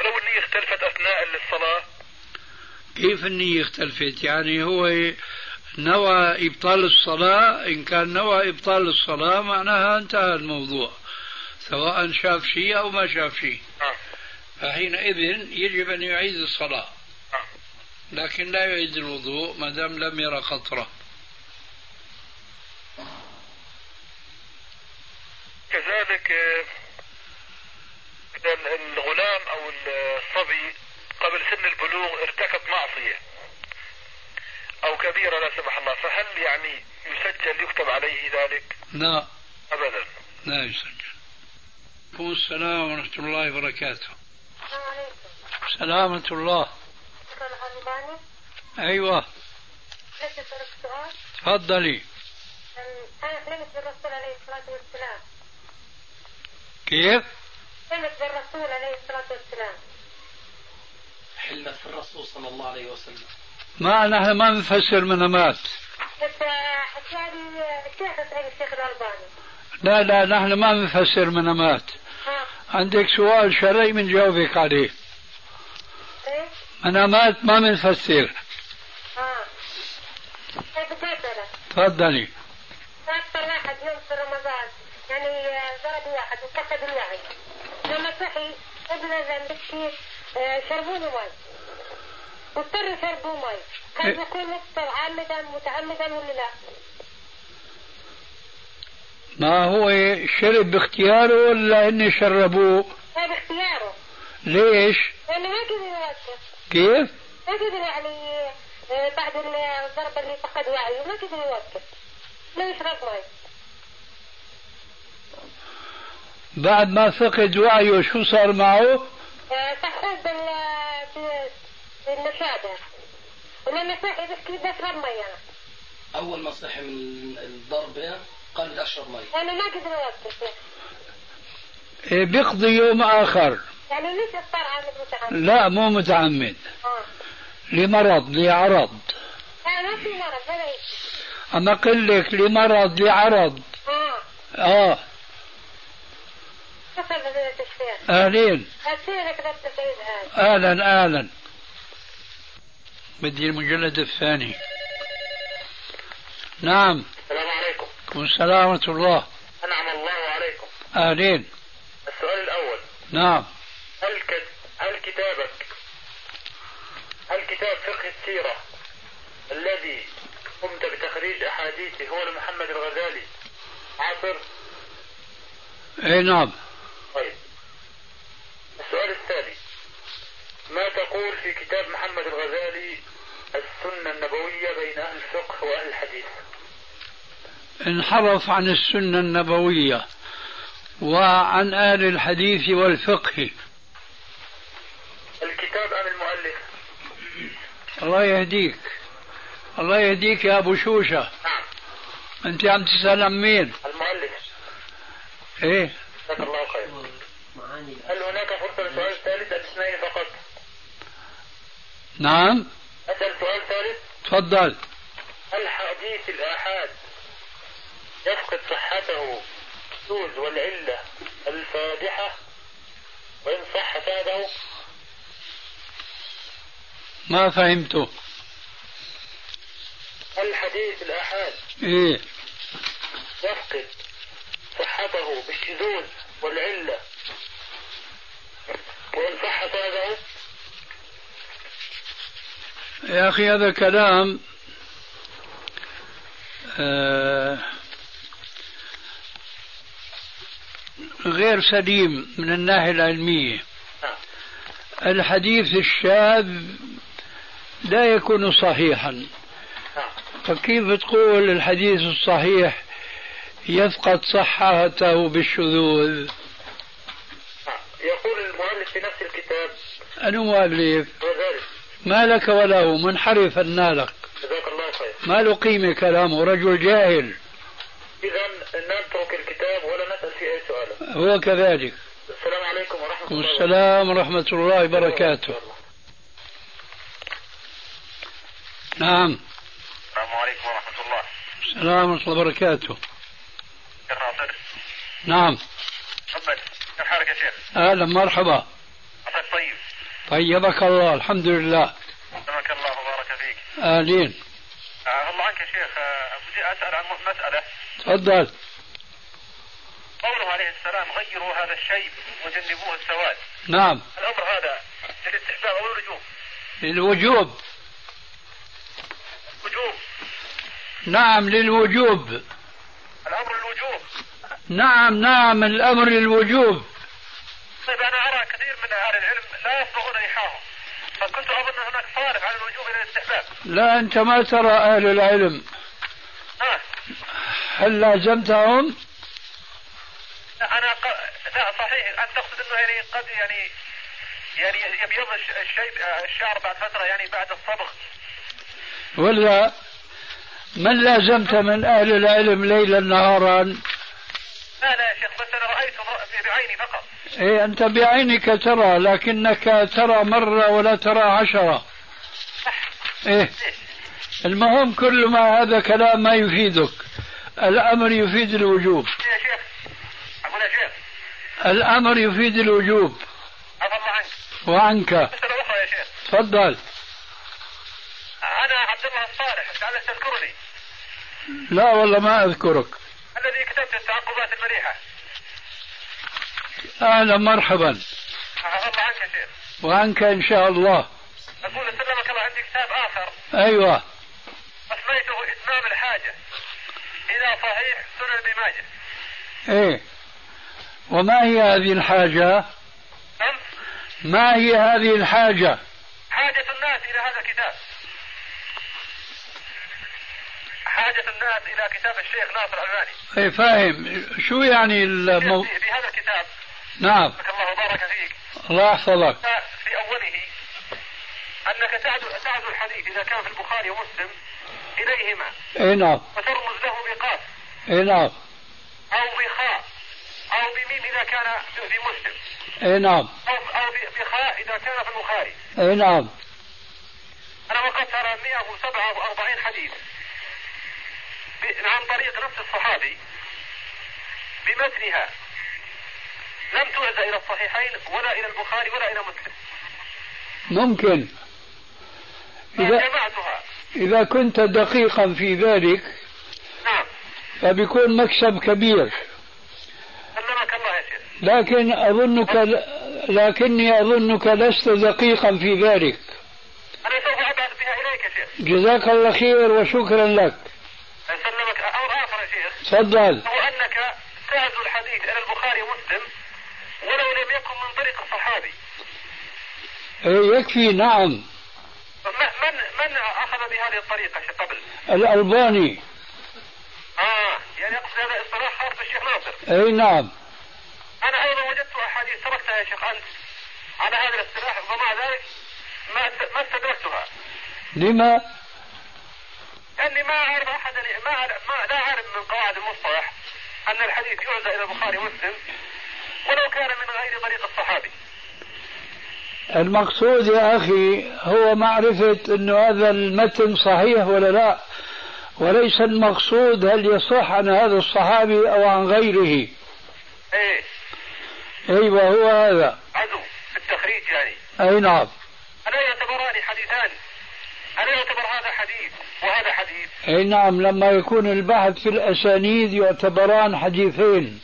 [SPEAKER 5] ولو النية اختلفت أثناء الصلاة
[SPEAKER 2] كيف النية اختلفت يعني هو نوى إبطال الصلاة إن كان نوى إبطال الصلاة معناها انتهى الموضوع سواء شاف شيء أو ما شاف شيء
[SPEAKER 5] نعم
[SPEAKER 2] فحينئذ يجب أن يعيد الصلاة
[SPEAKER 5] نعم
[SPEAKER 2] لكن لا يعيد الوضوء ما دام لم يرى قطرة
[SPEAKER 5] كذلك آه، إذا ال- الغلام أو ال- الصبي قبل سن البلوغ ارتكب معصية أو كبيرة لا سمح الله فهل يعني يسجل يكتب عليه ذلك
[SPEAKER 2] لا
[SPEAKER 5] أبدا
[SPEAKER 2] لا يسجل عليكم السلام ورحمة الله وبركاته
[SPEAKER 7] السلام عليكم
[SPEAKER 2] سلامة الله
[SPEAKER 7] دكتور غلباني
[SPEAKER 2] أيوة
[SPEAKER 7] لك أسألك سؤال
[SPEAKER 2] تفضلي
[SPEAKER 7] أم- أنا سئلت بالرسول عليه الصلاة والسلام
[SPEAKER 2] كيف؟
[SPEAKER 7] سئلت بالرسول عليه الصلاة والسلام
[SPEAKER 4] حلت في الرسول صلى الله عليه وسلم
[SPEAKER 2] ما نحن ما نفسر منامات
[SPEAKER 7] حتى حكى لي الشيخ أسأل الشيخ الألباني
[SPEAKER 2] لا لا نحن ما نفسر منامات
[SPEAKER 7] ها
[SPEAKER 2] عندك سؤال شرعي بنجاوبك عليه
[SPEAKER 7] إيه
[SPEAKER 2] منامات ما بنفسر
[SPEAKER 7] ها كيف تسأله
[SPEAKER 2] تفضلي
[SPEAKER 7] فأكثر واحد يوم في رمضان يعني آه، ضرب واحد وفقد الوعي لما صحي ابن زنبكي شربوني مي واضطروا يشربوا مي كان
[SPEAKER 2] إيه.
[SPEAKER 7] بيكون متعمدا متعمدا ولا لا؟
[SPEAKER 2] ما هو شرب باختياره ولا هن شربوه
[SPEAKER 7] هذا باختياره
[SPEAKER 2] ليش
[SPEAKER 7] لانه طيب، يعني ما قدر يوقف
[SPEAKER 2] كيف
[SPEAKER 7] ما قدر يعني آه، بعد الضربه اللي فقد وعيه ما قدر يوقف ما يشرب مي
[SPEAKER 2] بعد ما فقد وعيه شو صار معه
[SPEAKER 7] آه، سحب بال ب- بالمشابه ولما صحي بحكي بدي اشرب مي انا
[SPEAKER 8] اول ما صحي من الضربه قال بدي اشرب مي
[SPEAKER 7] لانه ما قدر يوقف
[SPEAKER 2] إيه بيقضي يوم آخر
[SPEAKER 7] يعني ليش اضطر عامل متعمد؟
[SPEAKER 2] لا مو متعمد
[SPEAKER 7] اه
[SPEAKER 2] لمرض لعرض
[SPEAKER 7] لا ما في مرض ولا شيء
[SPEAKER 2] أما أقول لك لمرض لعرض
[SPEAKER 7] اه
[SPEAKER 2] آه
[SPEAKER 7] حسب التشفير
[SPEAKER 2] أهلين
[SPEAKER 7] هالشيء كتبت البعيد هذا
[SPEAKER 2] أهلا أهلا بدي المجلد الثاني نعم
[SPEAKER 5] السلام عليكم
[SPEAKER 2] كن سلامة الله
[SPEAKER 5] أنعم الله عليكم
[SPEAKER 2] أهلين
[SPEAKER 5] السؤال الأول
[SPEAKER 2] نعم
[SPEAKER 5] هل كت... هل كتابك هل كتاب فقه السيرة الذي قمت بتخريج أحاديثه هو لمحمد الغزالي عصر
[SPEAKER 2] أي نعم
[SPEAKER 5] طيب السؤال الثاني ما تقول في كتاب محمد الغزالي السنة النبوية بين أهل الفقه وأهل الحديث
[SPEAKER 2] انحرف عن السنة النبوية وعن أهل الحديث والفقه
[SPEAKER 5] الكتاب أم المؤلف
[SPEAKER 2] الله يهديك الله يهديك يا أبو شوشة
[SPEAKER 5] نعم
[SPEAKER 2] أنت عم تسأل عن مين؟
[SPEAKER 5] المؤلف
[SPEAKER 2] إيه
[SPEAKER 5] جزاك الله خير هل هناك فرصة لسؤال ثالث أم اثنين فقط
[SPEAKER 2] نعم
[SPEAKER 5] أسأل سؤال ثالث
[SPEAKER 2] تفضل
[SPEAKER 5] هل حديث الآحاد يفقد صحته السوز والعلة الفادحة وإن صح فاده
[SPEAKER 2] ما فهمته
[SPEAKER 5] هل حديث الآحاد
[SPEAKER 2] إيه
[SPEAKER 5] يفقد صحته بالشذوذ والعلة وإن صح فاده
[SPEAKER 2] يا أخي هذا كلام آه، غير سليم من الناحية العلمية
[SPEAKER 5] آه،
[SPEAKER 2] الحديث الشاذ لا يكون صحيحا
[SPEAKER 5] آه،
[SPEAKER 2] فكيف تقول الحديث الصحيح يفقد صحته بالشذوذ
[SPEAKER 5] آه. يقول المؤلف في نفس الكتاب
[SPEAKER 2] أنا مؤلف
[SPEAKER 5] وذلك
[SPEAKER 2] ما لك وله منحرف نالك
[SPEAKER 5] جزاك الله خير
[SPEAKER 2] ما له قيمة كلامه رجل جاهل
[SPEAKER 5] إذا نترك الكتاب ولا نسأل في أي سؤال
[SPEAKER 2] هو كذلك
[SPEAKER 5] السلام عليكم ورحمة الله وبركاته
[SPEAKER 2] والسلام ورحمة الله وبركاته نعم
[SPEAKER 5] السلام عليكم ورحمة الله
[SPEAKER 2] السلام ورحمة الله وبركاته
[SPEAKER 5] شيخ ناصر
[SPEAKER 2] نعم
[SPEAKER 5] تفضل كيف حالك يا شيخ؟
[SPEAKER 2] أهلا مرحبا
[SPEAKER 5] عساك طيب
[SPEAKER 2] طيبك الله الحمد لله
[SPEAKER 5] سلمك الله وبارك فيك
[SPEAKER 2] أهلين
[SPEAKER 5] آه، الله عنك يا شيخ آه، بدي أسأل عن مسألة
[SPEAKER 2] تفضل
[SPEAKER 5] قوله عليه السلام غيروا هذا الشيء وجنبوه السواد
[SPEAKER 2] نعم
[SPEAKER 5] الأمر هذا للاستحباب أو الوجوب
[SPEAKER 2] للوجوب
[SPEAKER 5] وجوب
[SPEAKER 2] نعم للوجوب
[SPEAKER 5] الأمر للوجوب
[SPEAKER 2] نعم نعم الأمر للوجوب
[SPEAKER 5] طيب أنا أرى كثير من أهل العلم لا يصبغون ريحهم فكنت أظن أن هناك فارق عن الوجوب إلى الاستحباب
[SPEAKER 2] لا أنت ما ترى أهل العلم
[SPEAKER 5] ها
[SPEAKER 2] هل لازمتهم
[SPEAKER 5] لا أنا ق... لا صحيح أنت تقصد أنه يعني قد يعني يعني يبيض الش- الشيب آه، الشعر بعد فترة يعني بعد الصبغ
[SPEAKER 2] ولا من لازمت من أهل العلم ليلا نهارا
[SPEAKER 5] لا لا يا شيخ بس أنا رأيته ب- بعيني فقط
[SPEAKER 2] إيه أنت بعينك ترى لكنك ترى مرة ولا ترى عشرة إيه المهم كل ما هذا كلام ما يفيدك الأمر يفيد الوجوب
[SPEAKER 5] يا شيخ أقول يا شيخ
[SPEAKER 2] الأمر يفيد الوجوب
[SPEAKER 5] عفى الله عنك
[SPEAKER 2] وعنك
[SPEAKER 5] مسألة أخرى يا شيخ
[SPEAKER 2] تفضل
[SPEAKER 5] أنا عبد الله الصالح لعل تذكرني
[SPEAKER 2] لا والله ما أذكرك
[SPEAKER 5] الذي كتبت التعقبات المريحة
[SPEAKER 2] أهلا مرحبا
[SPEAKER 5] عفى الله عنك يا شيخ
[SPEAKER 2] وعنك إن شاء الله
[SPEAKER 5] أقول سلمك الله عندي كتاب آخر
[SPEAKER 2] أيوة
[SPEAKER 5] أسميته إتمام الحاجة إلى صحيح سنن ابن ماجه
[SPEAKER 2] ايه وما هي هذه الحاجة؟
[SPEAKER 5] نعم
[SPEAKER 2] ما هي هذه الحاجة؟
[SPEAKER 5] حاجة الناس إلى هذا الكتاب حاجة الناس إلى كتاب الشيخ ناصر الألباني
[SPEAKER 2] ايه فاهم شو يعني المو...
[SPEAKER 5] في في هذا الكتاب
[SPEAKER 2] نعم
[SPEAKER 5] بارك الله وبارك فيك
[SPEAKER 2] الله يحفظك
[SPEAKER 5] في أوله أنك تعدو, تعدو الحديث إذا كان في البخاري ومسلم إليهما
[SPEAKER 2] اي نعم
[SPEAKER 5] وترمز له بقاف
[SPEAKER 2] اي نعم
[SPEAKER 5] أو بخاء أو بميم إذا كان في مسلم
[SPEAKER 2] اي نعم
[SPEAKER 5] أو أو بخاء إذا كان في البخاري
[SPEAKER 2] اي نعم
[SPEAKER 5] أنا وقد ترى 147 حديث ب- عن طريق نفس الصحابي بمتنها لم تعز إلى الصحيحين ولا إلى البخاري ولا إلى مسلم
[SPEAKER 2] ممكن إذا
[SPEAKER 5] جمعتها
[SPEAKER 2] إذا كنت دقيقا في ذلك
[SPEAKER 5] نعم
[SPEAKER 2] فبيكون مكسب كبير
[SPEAKER 5] سلمك الله يا شيخ
[SPEAKER 2] لكن أظنك لكني أظنك لست دقيقا في ذلك
[SPEAKER 5] أنا سوف أبعث بها إليك يا شيخ
[SPEAKER 2] جزاك الله خير وشكرا لك
[SPEAKER 5] سلمك أمر آخر يا شيخ
[SPEAKER 2] تفضل
[SPEAKER 5] هو أنك تعزو الحديث إلى البخاري ومسلم ولو لم يكن من طريق الصحابي
[SPEAKER 2] إيه يكفي نعم
[SPEAKER 5] ما- من من أخذ بهذه الطريقة شيخ قبل؟
[SPEAKER 2] الألباني
[SPEAKER 5] آه يعني أقصد هذا اصطلاح خاص بالشيخ ناصر
[SPEAKER 2] أي نعم
[SPEAKER 5] أنا أيضا وجدت أحاديث تركتها يا شيخ أنت على هذا الاصطلاح ومع ذلك ما است- ما استدركتها
[SPEAKER 2] لما
[SPEAKER 5] لأني ما أعرف أحدا ما أعرف ما لا أعرف من قواعد المصطلح أن الحديث يعزى إلى البخاري ومسلم ولو كان من غير طريق الصحابي
[SPEAKER 2] المقصود يا أخي هو معرفة أن هذا المتن صحيح ولا لا وليس المقصود هل يصح عن هذا الصحابي أو عن غيره
[SPEAKER 5] إيه
[SPEAKER 2] أيوة هو هذا
[SPEAKER 5] عزو في التخريج يعني
[SPEAKER 2] أي نعم
[SPEAKER 5] ألا يعتبران حديثان ألا يعتبر هذا حديث وهذا حديث
[SPEAKER 2] أي نعم لما يكون البحث في الأسانيد يعتبران حديثين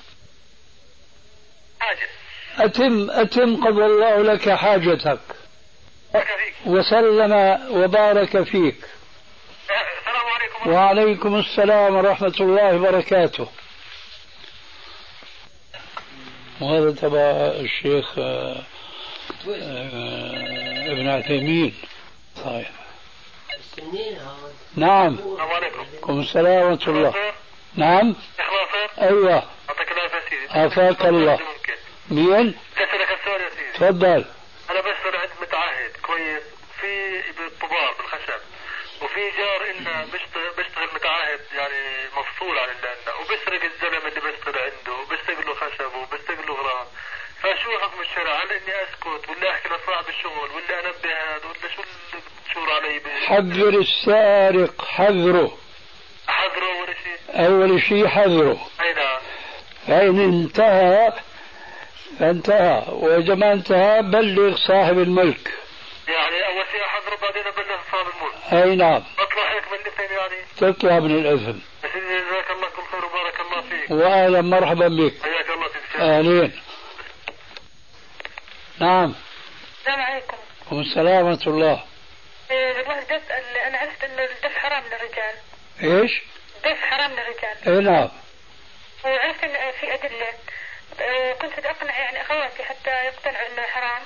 [SPEAKER 5] حاجة
[SPEAKER 2] أتم أتم قضى الله لك حاجتك
[SPEAKER 5] بارك فيك
[SPEAKER 2] وسلم وبارك فيك
[SPEAKER 5] آه، السلام عليكم ورحمة
[SPEAKER 2] وعليكم السلام ورحمة الله وبركاته وهذا تبع الشيخ آه، آه، ابن عثيمين صحيح نعم
[SPEAKER 5] السلام عليكم
[SPEAKER 2] عليكم السلام ورحمة الله
[SPEAKER 5] ناصر،
[SPEAKER 2] نعم
[SPEAKER 5] شيخ ناصر
[SPEAKER 2] أيوة
[SPEAKER 5] يعطيك العافية يا سيدي
[SPEAKER 2] عافاك الله. مين
[SPEAKER 5] أسألك السؤال يا سيدي
[SPEAKER 2] تفضل
[SPEAKER 5] أنا بشتغل عند متعهد كويس في بالطباع بالخشب وفي جار إنه بشت- بشتغل متعهد يعني مفصول عن اللي عندنا وبسرق الزلمة اللي بشتغل عنده وبسرق له خشب وبسرق له غرام فشو حكم الشرع هل إني أسكت ولا أحكي لصاحب الشغل ولا أنبه هذا ولا شو اللي بتشور علي به
[SPEAKER 2] حذر السارق حذره
[SPEAKER 5] أحذره ولا شيء
[SPEAKER 2] أول شيء حذره
[SPEAKER 5] أي نعم
[SPEAKER 2] فإن انتهى فانتهى وإذا ما انتهى بلغ صاحب الملك
[SPEAKER 5] يعني أول شيء أحذره بعدين أبلغ صاحب الملك
[SPEAKER 2] أي نعم
[SPEAKER 5] أطلع هيك من الاثنين يعني
[SPEAKER 2] تطلع من الإثم
[SPEAKER 5] يا سيدي جزاك الله كل خير وبارك الله فيك
[SPEAKER 2] وأهلا مرحبا بك
[SPEAKER 5] حياك الله في الشارع.
[SPEAKER 2] أهلين نعم
[SPEAKER 7] السلام عليكم
[SPEAKER 2] والسلام ورحمة الله
[SPEAKER 7] إيه، والله بسأل أنا عرفت إنه الدف حرام للرجال
[SPEAKER 2] إيش؟
[SPEAKER 7] الدف حرام للرجال
[SPEAKER 2] أي نعم
[SPEAKER 7] وعرفت إن في أدلة آه، كنت بدي أقنع يعني أخواتي حتى يقتنعوا إنه حرام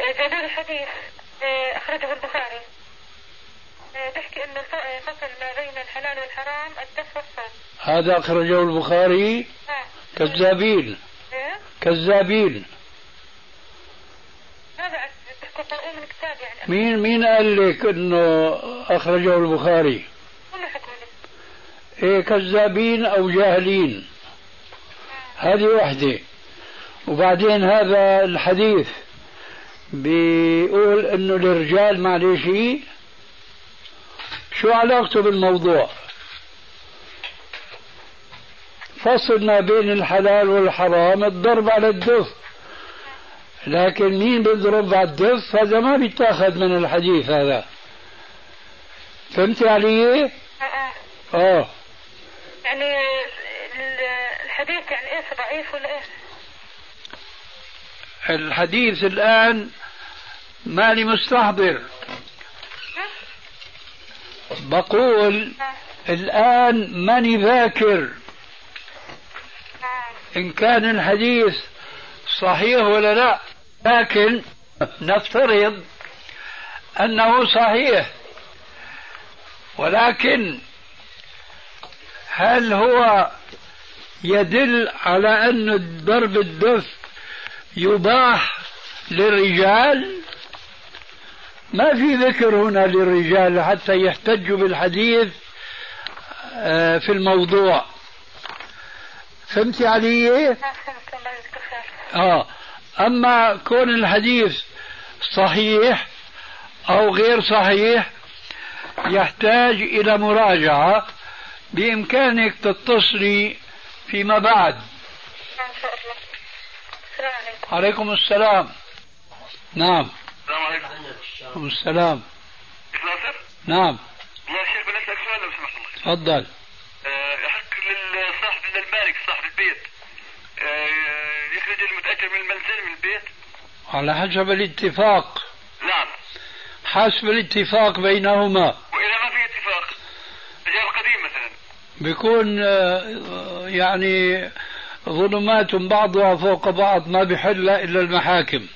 [SPEAKER 7] آه، جابوا لي حديث آه، أخرجه البخاري آه، بحكي إن الف- آه، فصل ما بين الحلال والحرام الدف والصوم
[SPEAKER 2] هذا أخرجه البخاري
[SPEAKER 7] آه.
[SPEAKER 2] كذابين
[SPEAKER 7] إيه؟
[SPEAKER 2] كذابين
[SPEAKER 7] ماذا عرفت؟ بحكوا قرؤوه من كتاب يعني
[SPEAKER 2] مين مين قال لك إنه أخرجه البخاري؟
[SPEAKER 7] هم حكموا لي
[SPEAKER 2] إيه كذابين أو جاهلين هذه وحدة وبعدين هذا الحديث بيقول انه الرجال ما عليه شيء شو علاقته بالموضوع فصل ما بين الحلال والحرام الضرب على الدف لكن مين بيضرب على الدف هذا ما بيتاخذ من الحديث هذا فهمت علي؟
[SPEAKER 7] آه، آه.
[SPEAKER 2] اه
[SPEAKER 7] يعني ال- الحديث يعني ايش ضعيف ولا ايش؟
[SPEAKER 2] الحديث الآن مالي مستحضر بقول الآن ماني ذاكر
[SPEAKER 7] آه.
[SPEAKER 2] إن كان الحديث صحيح ولا لا لكن نفترض أنه صحيح ولكن هل هو يدل على أن ضرب الدف يباح للرجال ما في ذكر هنا للرجال حتى يحتجوا بالحديث آه، في الموضوع فهمت علي
[SPEAKER 7] أحسنت آه، الله آه، يجزيك الخير
[SPEAKER 2] اه اما كون الحديث صحيح او غير صحيح يحتاج الى مراجعه بامكانك تتصلي فيما بعد
[SPEAKER 7] إن شاء الله السلام عليكم
[SPEAKER 2] عليكم السلام نعم
[SPEAKER 5] السلام عليكم
[SPEAKER 2] عليكم السلام
[SPEAKER 5] شيخ ناصر
[SPEAKER 2] نعم
[SPEAKER 5] يا شيخ بدي اسالك سؤال لو سمحت الله
[SPEAKER 2] تفضل
[SPEAKER 5] آه، يحق للصاحب للمالك صاحب البيت آه، يخرج المتاجر من المنزل من البيت
[SPEAKER 2] على حسب الاتفاق
[SPEAKER 5] نعم
[SPEAKER 2] حسب الاتفاق بينهما
[SPEAKER 5] واذا ما في اتفاق رجال قديم مثلا
[SPEAKER 2] بيكون آه، يعني ظلمات بعضها فوق بعض ما بحل الا المحاكم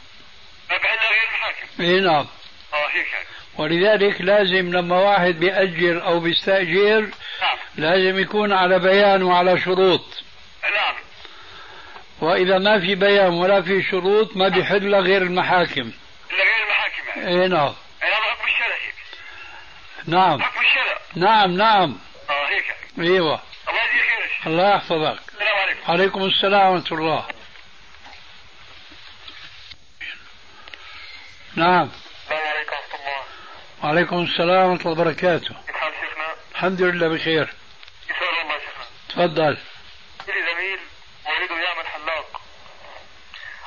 [SPEAKER 5] ما بحلها غير المحاكم
[SPEAKER 2] اي نعم
[SPEAKER 5] اه هيك يعني
[SPEAKER 2] ولذلك لازم لما واحد بيأجر او بيستأجر
[SPEAKER 5] نعم
[SPEAKER 2] لازم يكون على بيان وعلى شروط
[SPEAKER 5] نعم
[SPEAKER 2] واذا ما في بيان ولا في شروط ما بيحل غير المحاكم
[SPEAKER 5] الا غير المحاكم يعني
[SPEAKER 2] اي نعم
[SPEAKER 5] يعني هذا حكم الشرع هيك
[SPEAKER 2] نعم
[SPEAKER 5] حكم الشرع
[SPEAKER 2] نعم نعم
[SPEAKER 5] اه هيك يعني
[SPEAKER 2] ايوه
[SPEAKER 5] الله يجزيك خير يا شيخ
[SPEAKER 2] الله يحفظك
[SPEAKER 5] السلام عليكم
[SPEAKER 2] عليكم السلام ورحمة الله نعم
[SPEAKER 5] السلام عليكم ورحمه الله
[SPEAKER 2] وعليكم السلام ورحمة الله وبركاته
[SPEAKER 5] كيف حال شيخنا؟
[SPEAKER 2] الحمد لله بخير
[SPEAKER 5] يسأل الله شيخنا
[SPEAKER 2] تفضل
[SPEAKER 5] لي زميل والده يعمل حلاق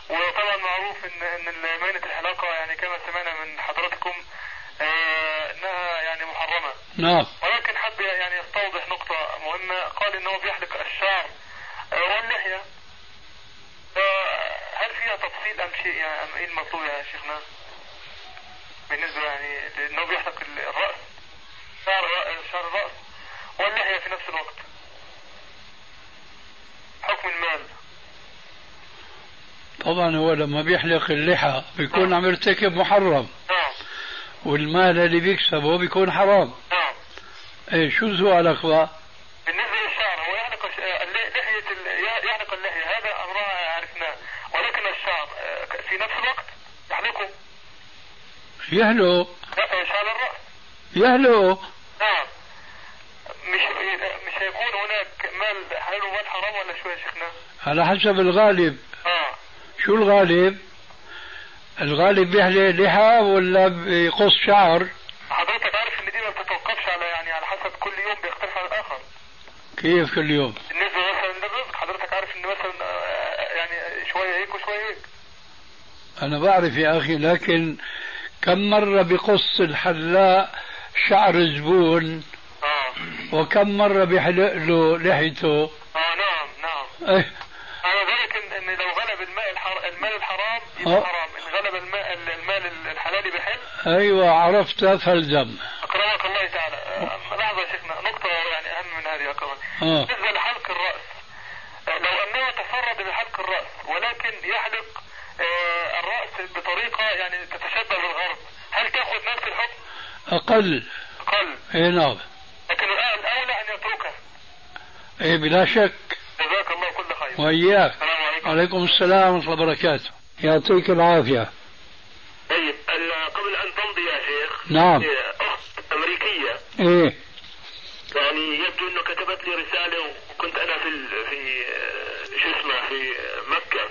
[SPEAKER 5] وطبعا معروف ان ان مهنه الحلاقه يعني كما سمعنا من حضراتكم آه، انها يعني محرمه
[SPEAKER 2] نعم
[SPEAKER 5] ولكن حب يعني يستوضح نقطه مهمه قال ان هو بيحلق الشعر آه، واللحيه فهل فيها تفصيل ام شيء يعني ام ايه المطلوب يا شيخنا؟ بالنسبه يعني لانه بيحلق الراس شعر الرأ- آه، شعر الراس واللحيه في نفس الوقت حكم المال
[SPEAKER 2] طبعا هو لما بيحلق اللحى بيكون عم يرتكب محرم
[SPEAKER 5] نعم
[SPEAKER 2] والمال اللي بيكسبه بيكون حرام
[SPEAKER 5] نعم
[SPEAKER 2] ايه شو سؤالك بقى؟
[SPEAKER 5] بالنسبه للشعر هو يحلق الش- آه، اللي- لحيه ال- ي- يحلق اللحيه هذا امرها عرفناه ولكن الشعر آه، ك- في نفس الوقت يحلقه
[SPEAKER 2] يهلو
[SPEAKER 5] لا شعر الراس
[SPEAKER 2] يهلو
[SPEAKER 5] نعم مش مش هيكون هناك مال حلال ومال حرام ولا شو يا شيخنا؟
[SPEAKER 2] على حسب الغالب
[SPEAKER 5] اه
[SPEAKER 2] شو الغالب؟ الغالب بيحلق لحى ولا بيقص شعر؟
[SPEAKER 5] حضرتك عارف ان دي ما بتتوقفش على يعني على حسب كل يوم بيختلف عن الاخر
[SPEAKER 2] كيف كل يوم؟
[SPEAKER 5] بالنسبه مثلا للرزق حضرتك عارف ان مثلا آه، يعني شويه هيك وشويه هيك
[SPEAKER 2] أنا بعرف يا أخي لكن كم مرة بقص الحلاق شعر الزبون
[SPEAKER 5] اه
[SPEAKER 2] وكم مرة بيحلق له لحيته
[SPEAKER 5] اه نعم نعم
[SPEAKER 2] إيه
[SPEAKER 5] على ذلك ان إن لو غلب الماء الحر... المال الحرام يبقى
[SPEAKER 2] آه.
[SPEAKER 5] حرام ان غلب الماء ال- المال الحلال بحل
[SPEAKER 2] أيوة عرفت فالزم
[SPEAKER 5] اكرمك الله تعالى آه، لحظه يا شيخنا نقطه يعني اهم من هذه اكرمك
[SPEAKER 2] آه.
[SPEAKER 5] بالنسبه لحلق الراس آه، لو انه تفرد بحلق الراس ولكن يحلق آه، الراس بطريقه يعني تتشبه بالغرب هل تاخذ نفس الحكم؟
[SPEAKER 2] أقل
[SPEAKER 5] قل
[SPEAKER 2] إيه نعم
[SPEAKER 5] لكن الأ- الاولى ان يتركها
[SPEAKER 2] إيه بلا شك
[SPEAKER 5] جزاك الله كل خير
[SPEAKER 2] وإياك
[SPEAKER 5] السلام عليكم
[SPEAKER 2] عليكم السلام ورحمة الله وبركاته يعطيك العافية
[SPEAKER 5] طيب ال- قبل ان تمضي يا شيخ
[SPEAKER 2] نعم.
[SPEAKER 5] آه، اخت امريكيه
[SPEAKER 2] إيه
[SPEAKER 5] يعني يبدو انه كتبت لي رساله وكنت انا في ال... في آه، شو اسمه في آه، مكه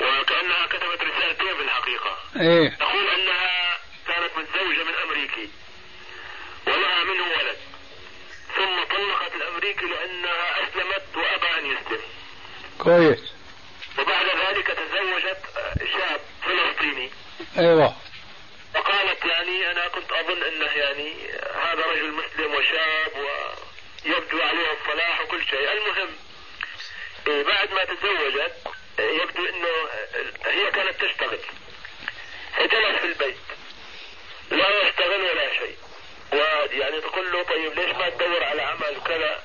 [SPEAKER 5] وكانها كتبت رسالتين في الحقيقه
[SPEAKER 2] إيه
[SPEAKER 5] تقول انها كانت متزوجه من امريكي ولها منه ولد ثم طلقت الامريكي لانها اسلمت وابى ان يسلم
[SPEAKER 2] كويس
[SPEAKER 5] وبعد ذلك تزوجت آه، شاب فلسطيني
[SPEAKER 2] أيوة
[SPEAKER 5] وقالت يعني انا كنت اظن انه يعني هذا رجل مسلم وشاب ويبدو عليه الصلاح وكل شيء، المهم إيه، بعد ما تزوجت إيه، يبدو انه آه، هي كانت تشتغل. فجلس في البيت لا يشتغل ولا شيء. ويعني تقول له طيب ليش ما تدور على عمل وكذا؟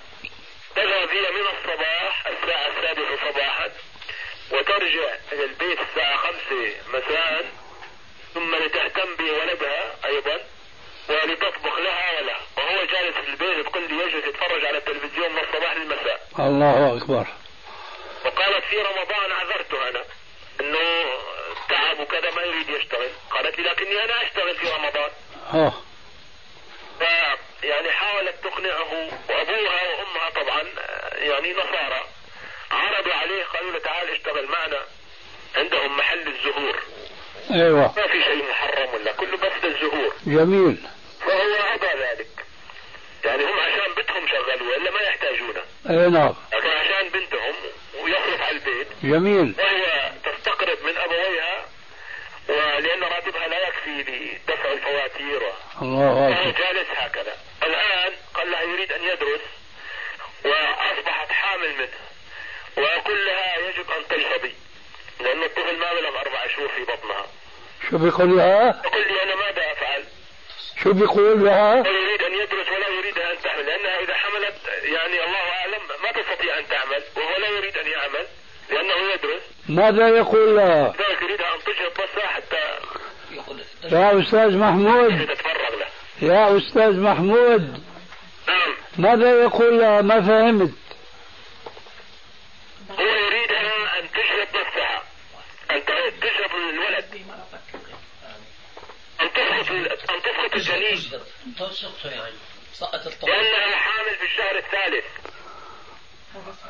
[SPEAKER 5] تذهب هي من الصباح الساعة السادسة صباحا وترجع إلى البيت الساعة خمسة مساء ثم لتهتم بولدها أيضا ولتطبخ لها وله وهو جالس في البيت بكل يجلس يتفرج على التلفزيون من الصباح للمساء
[SPEAKER 2] الله أكبر
[SPEAKER 5] وقالت في رمضان عذرته انا انه تعب وكذا ما يريد يشتغل قالت لي لكني انا اشتغل في رمضان
[SPEAKER 2] أوه.
[SPEAKER 5] ف يعني حاولت تقنعه وابوها وامها طبعا آه، يعني نصارى عرضوا عليه قالوا له تعال اشتغل معنا عندهم محل الزهور
[SPEAKER 2] أيوة
[SPEAKER 5] ما في شيء محرم ولا كله بس للزهور
[SPEAKER 2] جميل
[SPEAKER 5] فهو ابى ذلك يعني هم عشان بنتهم شغلوه الا ما يحتاجونه
[SPEAKER 2] أي نعم
[SPEAKER 5] لكن عشان بنتهم ويصرف على البيت
[SPEAKER 2] جميل
[SPEAKER 5] وهي تستقرض من ابويها ولان راتبها لا يكفي لدفع الفواتير و-
[SPEAKER 2] الله
[SPEAKER 5] فهو
[SPEAKER 2] أكبر
[SPEAKER 5] جالس هكذا الان قال لها يريد ان يدرس واصبحت حامل منه واقول لها يجب ان تنصبي لان الطفل ما بلغ اربع شهور في بطنها
[SPEAKER 2] شو بيقول لها؟
[SPEAKER 5] تقول لي انا ماذا افعل؟
[SPEAKER 2] شو بيقول لها؟
[SPEAKER 5] لا يريد ان يدرس ولا يريدها ان تعمل لانها اذا حملت يعني الله اعلم ما تستطيع ان تعمل وهو لا يريد ان يعمل لانه يدرس
[SPEAKER 2] ماذا يقول لها؟
[SPEAKER 5] لذلك يريدها ان تجهض بس حتى
[SPEAKER 2] يا أستاذ محمود
[SPEAKER 5] تتفرغ له
[SPEAKER 2] يا أستاذ محمود
[SPEAKER 5] نعم
[SPEAKER 2] ماذا يقول لها؟ ما فهمت
[SPEAKER 5] هو يريدها ان تشرب نفسها ان ت- تشرب الولد ان تسقط ان تسقط الجنين
[SPEAKER 6] تسقطه يا رجل
[SPEAKER 8] سقط الطفل
[SPEAKER 5] لانها حامل في الشهر الثالث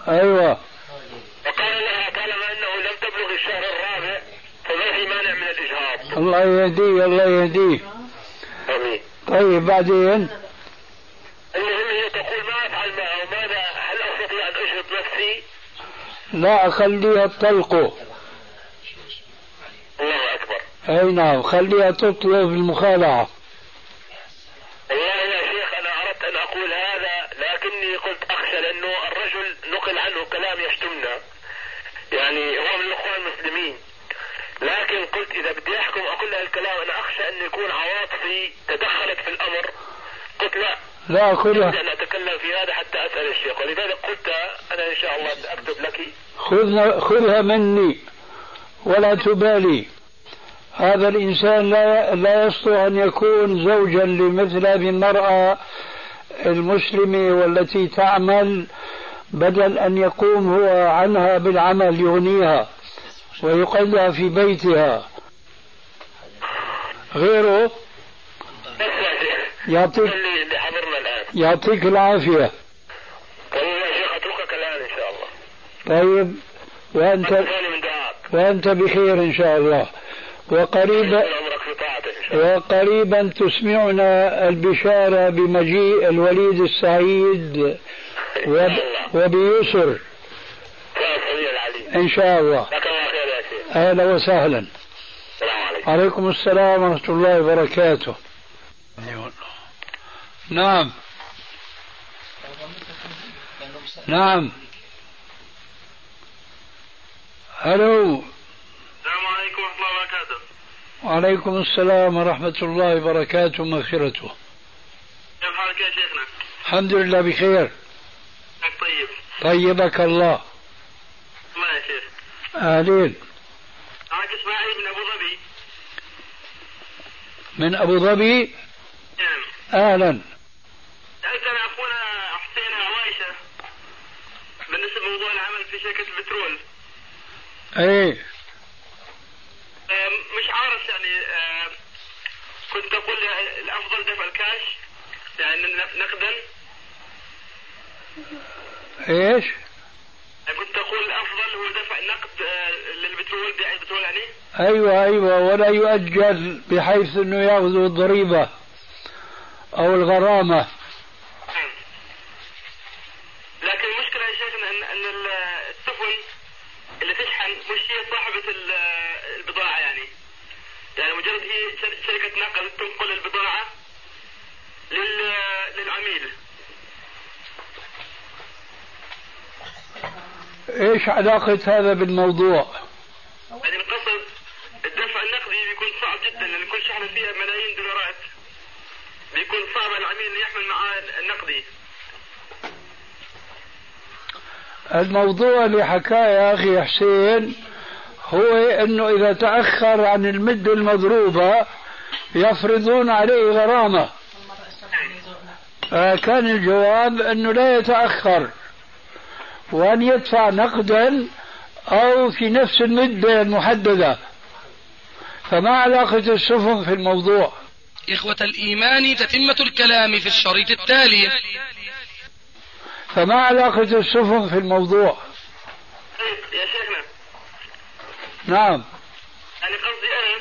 [SPEAKER 2] أيوة
[SPEAKER 5] وقال لها طالما انه لم تبلغ الشهر الرابع فما في مانع من الاجهاض
[SPEAKER 2] الله يهديه الله يهديه
[SPEAKER 5] امين
[SPEAKER 2] طيب بعدين
[SPEAKER 5] المهم هي تقول ما افعل معه ماذا هل استطيع ان اشرب نفسي؟
[SPEAKER 2] لا أخليها تلقه
[SPEAKER 5] الله اكبر
[SPEAKER 2] أي نعم خليها تطلب المخالعة
[SPEAKER 5] والله يا شيخ انا اردت ان اقول هذا لكني قلت اخشى لانه الرجل نقل عنه كلام يشتمنا يعني هو من الاخوان المسلمين لكن قلت اذا بدي احكم اقول لها الكلام انا اخشى ان يكون عواطفي تدخلت في الامر قلت لا
[SPEAKER 2] لا
[SPEAKER 5] بدي
[SPEAKER 2] خذها
[SPEAKER 5] ان اتكلم في هذا حتى اسال الشيخ ولذلك قلت انا ان شاء الله اكتب لك
[SPEAKER 2] خذها, خذها مني ولا تبالي هذا الإنسان لا لا يصلح أن يكون زوجا لمثل هذه المرأة المسلمة والتي تعمل بدل أن يقوم هو عنها بالعمل يغنيها ويقلها في بيتها غيره
[SPEAKER 5] بس يا شيخ
[SPEAKER 2] يعطيك
[SPEAKER 5] قل لي اللي حضرنا الان
[SPEAKER 2] يعطيك العافية
[SPEAKER 5] والله يا شيخ اتركك الان ان شاء الله
[SPEAKER 2] طيب وأنت
[SPEAKER 5] أتفاني من دعائك
[SPEAKER 2] وأنت بخير إن شاء الله وقريبا
[SPEAKER 5] طول عمرك في طاعتك ان شاء الله
[SPEAKER 2] وقريبا تسمعنا البشارة بمجيء الوليد السعيد وب... وبيسر
[SPEAKER 5] يا العلي
[SPEAKER 2] إن شاء الله
[SPEAKER 5] جزاك الله خير يا شيخ
[SPEAKER 2] أهلا وسهلا
[SPEAKER 5] السلام عليكم
[SPEAKER 2] عليكم السلام ورحمة الله وبركاته نعم نعم ألو
[SPEAKER 5] السلام عليكم ورحمة الله وبركاته
[SPEAKER 2] وعليكم السلام ورحمة الله وبركاته ومغفرته
[SPEAKER 5] كيف حالك يا شيخنا؟
[SPEAKER 2] الحمد لله بخير
[SPEAKER 5] حالك طيب
[SPEAKER 2] طيبك الله
[SPEAKER 5] الله يا شيخ
[SPEAKER 2] أهلين
[SPEAKER 5] معك اسماعيل من ابو ظبي
[SPEAKER 2] من أبو ظبي
[SPEAKER 5] نعم
[SPEAKER 2] أهلا
[SPEAKER 5] تأذن اخونا حسين عوايشة بالنسبة لموضوع العمل في شركة البترول
[SPEAKER 2] ايه
[SPEAKER 5] أم، مش عارف يعني أم، كنت اقول يعني الافضل دفع الكاش يعني نق- نقدا
[SPEAKER 2] ايش
[SPEAKER 5] كنت اقول الافضل هو دفع نقد أه، للبترول بيع البترول يعني
[SPEAKER 2] ايوه ايوه ولا يؤجل بحيث انه ياخذوا الضريبه او الغرامه
[SPEAKER 5] نعم. لكن المشكله يا شيخنا ان ان ال- السفن اللي تشحن مش هي صاحبه ال- البضاعه يعني يعني مجرد هي شر- شركه نقل تنقل البضاعه لل- للعميل
[SPEAKER 2] ايش علاقه هذا بالموضوع
[SPEAKER 5] يعني القصد الدفع النقدي بيكون صعب جدا لان كل شحنه فيها ملايين دولارات بيكون صعب على العميل انه يحمل معاه النقدي
[SPEAKER 2] الموضوع اللي حكاه يا أخي حسين هو أنه إذا تأخر عن المدة المضروبة يفرضون عليه غرامة آه، كان الجواب أنه لا يتأخر وأن يدفع نقدا أو في نفس المدة المحددة فما علاقة السفن في الموضوع
[SPEAKER 9] إخوة الإيمان تتمة الكلام في الشريط التالي
[SPEAKER 2] فما علاقة السفن في الموضوع
[SPEAKER 5] طيب يا شيخنا
[SPEAKER 2] نعم
[SPEAKER 5] انا يعني قصدي انا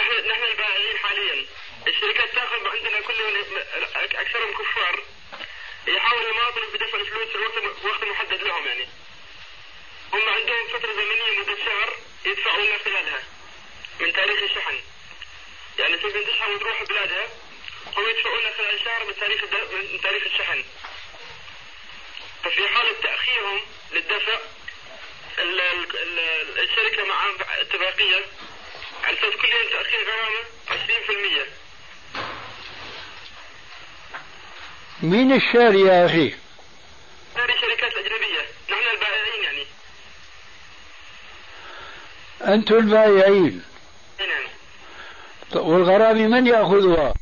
[SPEAKER 5] نحن نحن البائعين حاليا الشركات تاخذ عندنا كلهم أك- اكثرهم كفار يحاولوا يماطلوا في دفع الفلوس في الوقت وقت محدد لهم يعني هم عندهم فتره زمنيه مده شهر يدفعوا لنا خلالها من تاريخ الشحن يعني تبي تشحن وتروح بلادها هم يدفعوا لنا خلال شهر من تاريخ الد- من تاريخ الشحن ففي حالة تأخيرهم للدفع ال- ال- ال- الشركة مع اتفاقية على أساس كل يوم تأخير غرامة 20%
[SPEAKER 2] مين الشاري يا أخي
[SPEAKER 5] غير الشركات الأجنبية نحن البائعين يعني
[SPEAKER 2] أنتم البائعين
[SPEAKER 5] أي نعم
[SPEAKER 2] والغرامة من يأخذها